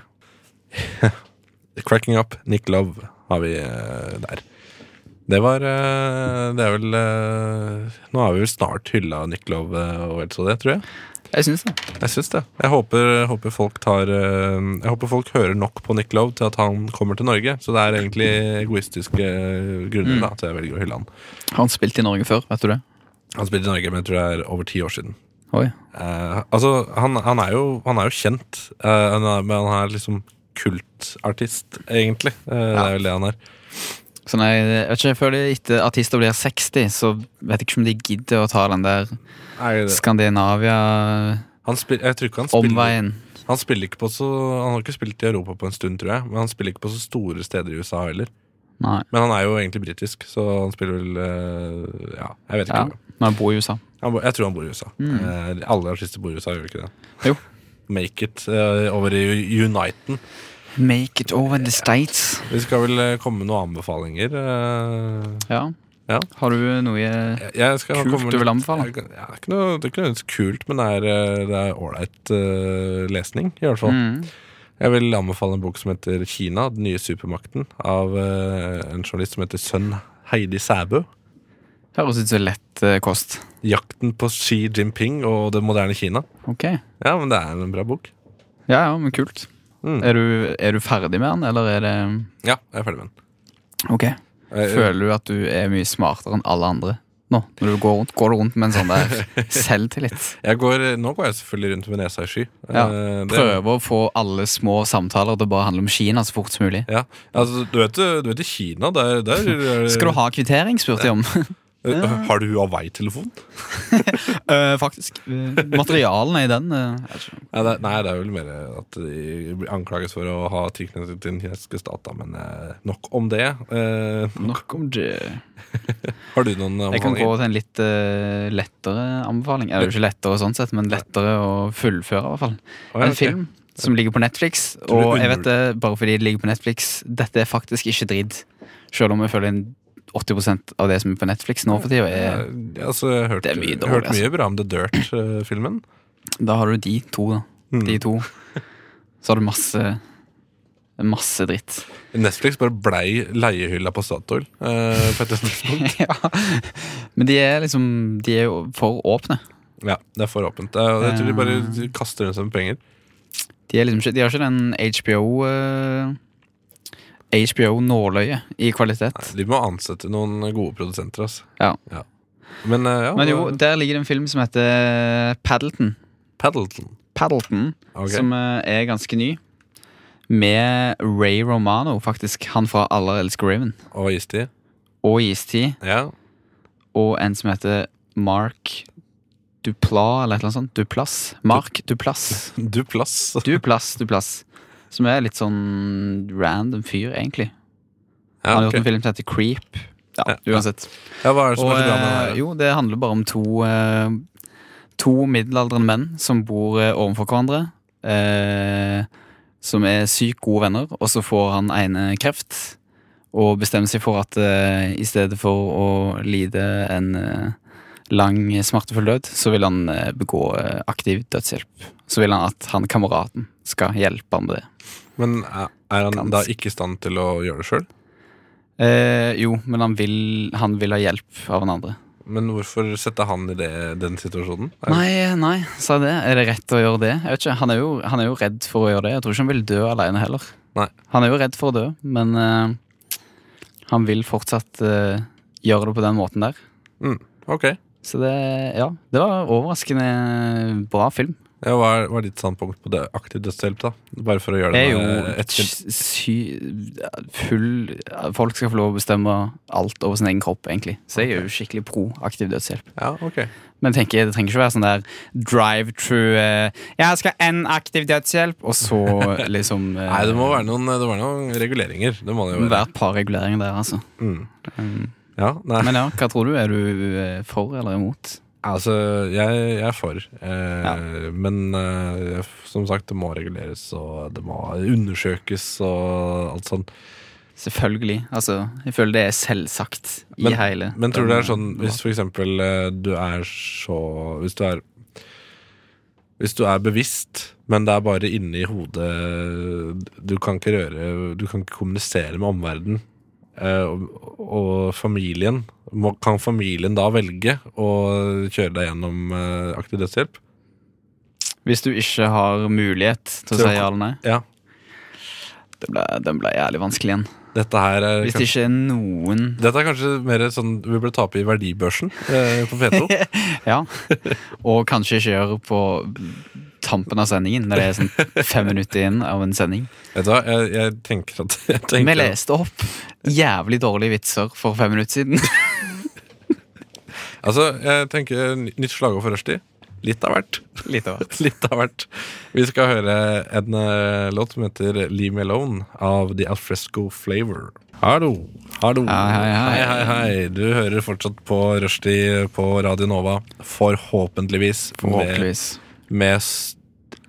'Cracking Up', Nick Love har vi eh, der. Det var eh, Det er vel eh, Nå har vi vel snart hylla Nick Love eh, og vel så det, tror jeg. Jeg syns det. Jeg syns det. Jeg håper, håper folk tar eh, Jeg håper folk hører nok på Nick Love til at han kommer til Norge. Så det er egentlig egoistiske eh, grunner da, til jeg velger å hylle han. Har han spilt i Norge før? Vet du det? Han spilte i Norge, men jeg tror det er over ti år siden. Oi. Eh, altså, han, han, er jo, han er jo kjent, eh, han er, men han er liksom kultartist, egentlig. Eh, Det er vel det han er. Så nei, jeg vet ikke, jeg føler etter artister blir 60, så vet jeg ikke om de gidder å ta den der Skandinavia-omveien. Han spil, jeg tror ikke han spiller Han spiller ikke på så Han har ikke spilt i Europa på en stund, tror jeg. Men han spiller ikke på så store steder i USA heller. Nei. Men han er jo egentlig britisk, så han spiller vel eh, Ja, jeg vet Ja. ikke. Men han bor i USA. Han bor, jeg tror han bor i USA. Eh, alle artister bor i USA, gjør de ikke det? Jo. Make it eh, over i Uniten. Make it over the States. Vi skal vel eh, komme med noen anbefalinger. eh. Ja. Ja. Har du noe i- Jeg- jeg skal Kult komme med du vil litt- anbefale? Jeg kan- Ja, det er ikke noe, det er ikke noe kult, men det er, eh, det er ålreit eh, lesning, i hvert fall. mm. Jeg vil anbefale en bok som heter Kina, den nye supermakten, av eh, en journalist som heter Sønn Heidi Sæbø. Høres ut som lett eh, kost. Jakten på Xi Jinping og det moderne Kina. Ok. Ja, Ja, men det er en bra bok. ja, men kult. Mm. Er, du, er du ferdig med den, eller er det Ja, jeg er ferdig med den. Ok. Eh, Føler du at du er mye smartere enn alle andre nå? Når du går rundt, går du rundt med en sånn der selvtillit? Jeg går, nå går jeg selvfølgelig rundt med nesa i sky. Ja, Eh, det- Prøver å få alle små samtaler til å bare handle om Kina så fort som mulig. Ja, altså, du vet, du vet i Kina, der, der Skal du ha kvittering, spurte jeg om. Eh, Har du Hawaii-telefon? Eh, faktisk. Eh, Materialene i den eh, jeg vet ikke. Nei, det- nei, det er vel mer at de blir anklages for å ha tilknytning til den kinesiske stat, da, men eh, nok om det. Eh, Nok om det. har du noen Jeg kan gå anbefalinger? til en litt eh, lettere anbefaling. Eller det er jo ikke lettere sånn sett, men lettere å fullføre, i hvert fall. Å, ja, En ok. film som ligger på Netflix. Tror du Og jeg under- vet det bare fordi det ligger på Netflix. Dette er faktisk ikke dritt. Selv om jeg føler en 80 av det som er på Netflix nå for tida, er Eh, altså, jeg har hørt, Det er mye dårlig, hørt altså. mye bra om The Dirt-filmen. Da har du de to, da. Mm. De to. Så har du masse Masse dritt. Netflix bare blei leiehylla på Statoil. eh, på et tidspunkt. ja. Men de er liksom De er jo for åpne. ja, det er for åpent. Det er- Jeg tror de Eh. bare kaster rundt seg med penger. De, er liksom ikke, de har ikke den HBO eh, HBO-nåløyet i kvalitet. De må ansette noen gode produsenter, altså. Ja. Men eh, ja, Men jo, da- der ligger det en film som heter Paddleton. Paddleton. Paddleton Ok. Som eh, er ganske ny. Med Ray Romano, faktisk. Han fra Aller elsker Raven. Og istid. Og Istid. Ja. Og en som heter Mark Dupla, eller et eller annet sånt. Duplass. Mark Duplass. Du plass. Duplass, Duplass. Som er litt sånn random fyr, egentlig. Ja, Han har ok. gjort en film som heter Creep. Ja, uansett. ja, hva er det som Og, er så bra med eh, det her? jo, det handler bare om to eh, To middelaldrende menn som bor eh, overfor hverandre. Eh, som er sykt gode venner, og så får han ene kreft. Og bestemmer seg for at eh, i stedet for å lide en eh, lang, smertefull død, så vil han eh, begå eh, aktiv dødshjelp. Så vil han at han kameraten skal hjelpe ham med det. Men er er han Ganske. da ikke i stand til å gjøre det sjøl? Eh, jo, men han vil, han vil ha hjelp av den andre. Men hvorfor sette han i det, den situasjonen? Er- Nei, nei, sa jeg det. Er det rett å gjøre det? Jeg vet ikke, Han er jo, han er jo redd for å gjøre det. Jeg tror ikke han vil dø alene heller. Nei. Han er jo redd for å dø, men eh, han vil fortsatt eh, gjøre det på den måten der. Mm, Ok. Så det, ja, det var overraskende bra film. Ja, hva, er, hva er ditt standpunkt på det aktiv dødshjelp, da? Bare for å gjøre Det det er jo med et sy, full Folk skal få lov å bestemme alt over sin egen kropp, egentlig. Så jeg er jo skikkelig pro aktiv dødshjelp. Ja, ok. Men jeg tenker, det trenger ikke være sånn der drive-true eh, Jeg skal en aktiv dødshjelp, og så liksom eh, Nei, det må være noen, det må være noen reguleringer. Det må det det jo må være. være et par reguleringer der, altså. Mm. Um, Ja, nei. Men ja, hva tror du? Er du eh, for eller imot? Altså, jeg, jeg er for. Eh, Men eh, som sagt, det må reguleres, og det må undersøkes og alt sånt. Selvfølgelig. Altså, jeg føler det er selvsagt i Men- hele Men tror du det er sånn denne Hvis for eksempel eh, du er så Hvis du er Hvis du er bevisst Men det er bare inne i hodet Du kan ikke røre Du kan ikke kommunisere med omverdenen eh, og, og familien må, Kan familien da velge Å kjøre deg gjennom eh, aktiv dødshjelp? debatten. Hvis du ikke har mulighet til å Til å si ja eller nei? Ja. Det ble, den ble jævlig vanskelig igjen. Dette her er Hvis kanskje, det ikke er noen Dette er kanskje mer sånn Vi burde tape i verdibørsen eh, På P2 Ja. Og kanskje ikke gjør på tampen av sendingen, når det er sånn fem minutter inn av en sending. Vet du hva? Jeg, jeg tenker at jeg Vi tenker, leste opp jævlig dårlige vitser for fem minutter siden. Altså, jeg tenker nytt slagord for Rushdie Litt av hvert Litt av hvert. Litt av hvert. Vi skal høre en eh, låt som heter Leave Me Alone av The Alfresco Flavor. Hallo. Hallo. Hei, hei, hei. hei, hei, hei. Du hører fortsatt på Rushdie på Radio Nova. Forhåpentligvis. Forhåpentligvis. Med, med s-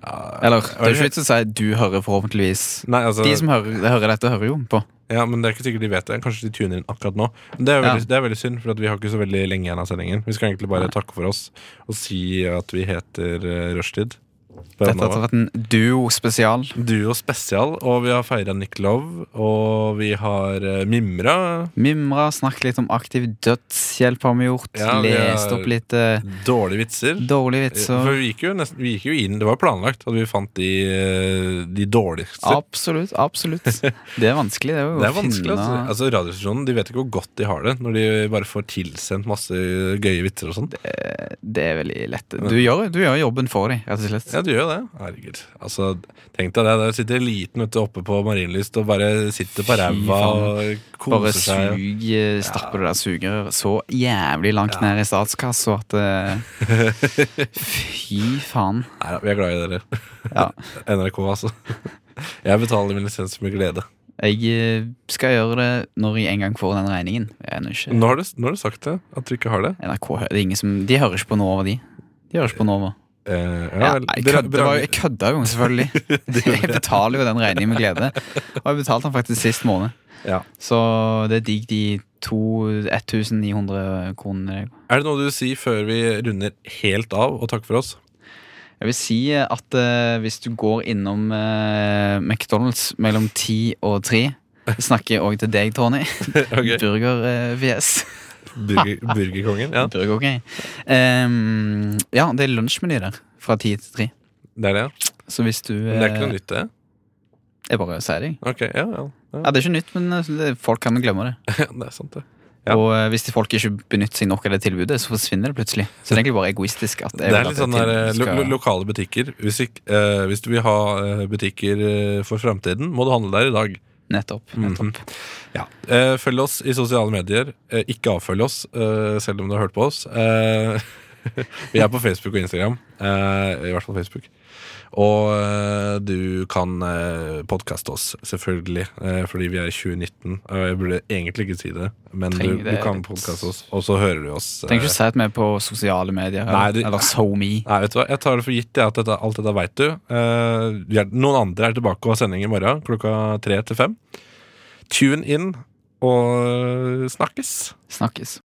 eh, Eller det er jo ikke vits å si du hører forhåpentligvis. Nei, altså, De som hører, hører dette, hører jo på. ja, men det er ikke sikkert de vet det. Kanskje de tuner inn akkurat nå. Men det er veldig, det er veldig synd, for at vi har ikke så veldig lenge igjen av sendingen. Vi skal egentlig bare takke for oss og si at vi heter eh, Rushtid. på Radio Dette Nova. har vært en duo-spesial. Duo spesial, og vi har feira Nick Love, og vi har eh, mimra. Mimra, snakket litt om aktiv dødshjelp har vi gjort. Ja, vi Lest har- opp litt eh, Dårlige vitser. Eh, dårlige For vitser. vi gikk, jo nesten, vi gikk jo inn, det var planlagt at vi fant de, eh, de dårligste. Absolutt. absolutt Det er vanskelig. Det er, jo Det er å vanskelig. finne- Altså. Altså, radiostasjonen de vet ikke hvor godt de har det når de bare får tilsendt masse gøye vitser og sånn. Det er veldig lett. Du gjør, du gjør jobben for dem, rett og slett. Ja, du gjør jo det. Herregud. Altså, tenk deg det. Der sitter eliten ute oppe på Marienlyst og bare sitter på Fy ræva og Bare koser seg. sug, eh, stappe det der sugerøret så jævlig langt ned i statskassa at eh, Fy faen. Nei, vi er glad i dere. Ja. NRK, altså. Jeg betaler min lisens med glede. Jeg eh, skal gjøre det når jeg en gang får den regningen. Jeg er ennå ikke Nå har du, nå har du sagt det, at du ikke har det. NRK hører det er ingen som De hører ikke på Nova, de. De hører ikke på Nova. Eh, ja, Ja, vel. jeg Bra- kødder- det var bra- jo- jeg kødda jo, selvfølgelig. Jeg betaler jo den regningen med glede. Og jeg betalte den faktisk sist måned. Ja. Så det er digg de to eh, 1900 kronene. Er det noe du vil si før vi runder helt av og takker for oss? Jeg vil si at eh, hvis du går innom eh, McDonald's mellom ti og tre Snakker òg til deg, Tony. Ok. Burger-VS. Burger, burgerkongen? Ja, Burger, ok. Ehm, ja, det er lunsjmeny der fra ti til tre. det er det. ja. Så hvis du Men det er ikke noe eh, nytt, det? Jeg bare sier det. jeg. Ok, ja, ja. Ja, det er ikke nytt, men eh, det- folk kan glemme det. ja. Det er sant, det. Ja. Og eh, hvis de folk ikke benytter seg nok av det tilbudet, så forsvinner det plutselig. Så det er egentlig bare egoistisk at Det jeg vil er at litt det sånn der, eh, tilbudet lo, skal- lo, lokale butikker. Hvis, ikk- eh, hvis du vil ha eh, butikker eh, for framtiden, må du handle der i dag. Nettopp. Mm. nettopp. Mhm. Ja. Eh, følg oss i sosiale medier. Eh, ikke avfølg oss, eh, selv om du har hørt på oss. Eh, vi er på Facebook og Instagram. Eh, I hvert fall Facebook. Og eh, du kan eh, podkaste oss, selvfølgelig, eh, fordi vi er i 2019. Eh, jeg burde egentlig ikke si det, men du, Trenger du det kan litt. podkaste oss, og så hører du oss. eh, Trenger ikke si at vi er på sosiale medier Nei, du- eller, eller SoMe. Nei, vet du hva? Jeg tar det for gitt jeg, at dette, alt dette veit du. Eh, vi er, noen andre er tilbake og har sending i morgen klokka tre til fem. Tune inn og snakkes. Snakkes.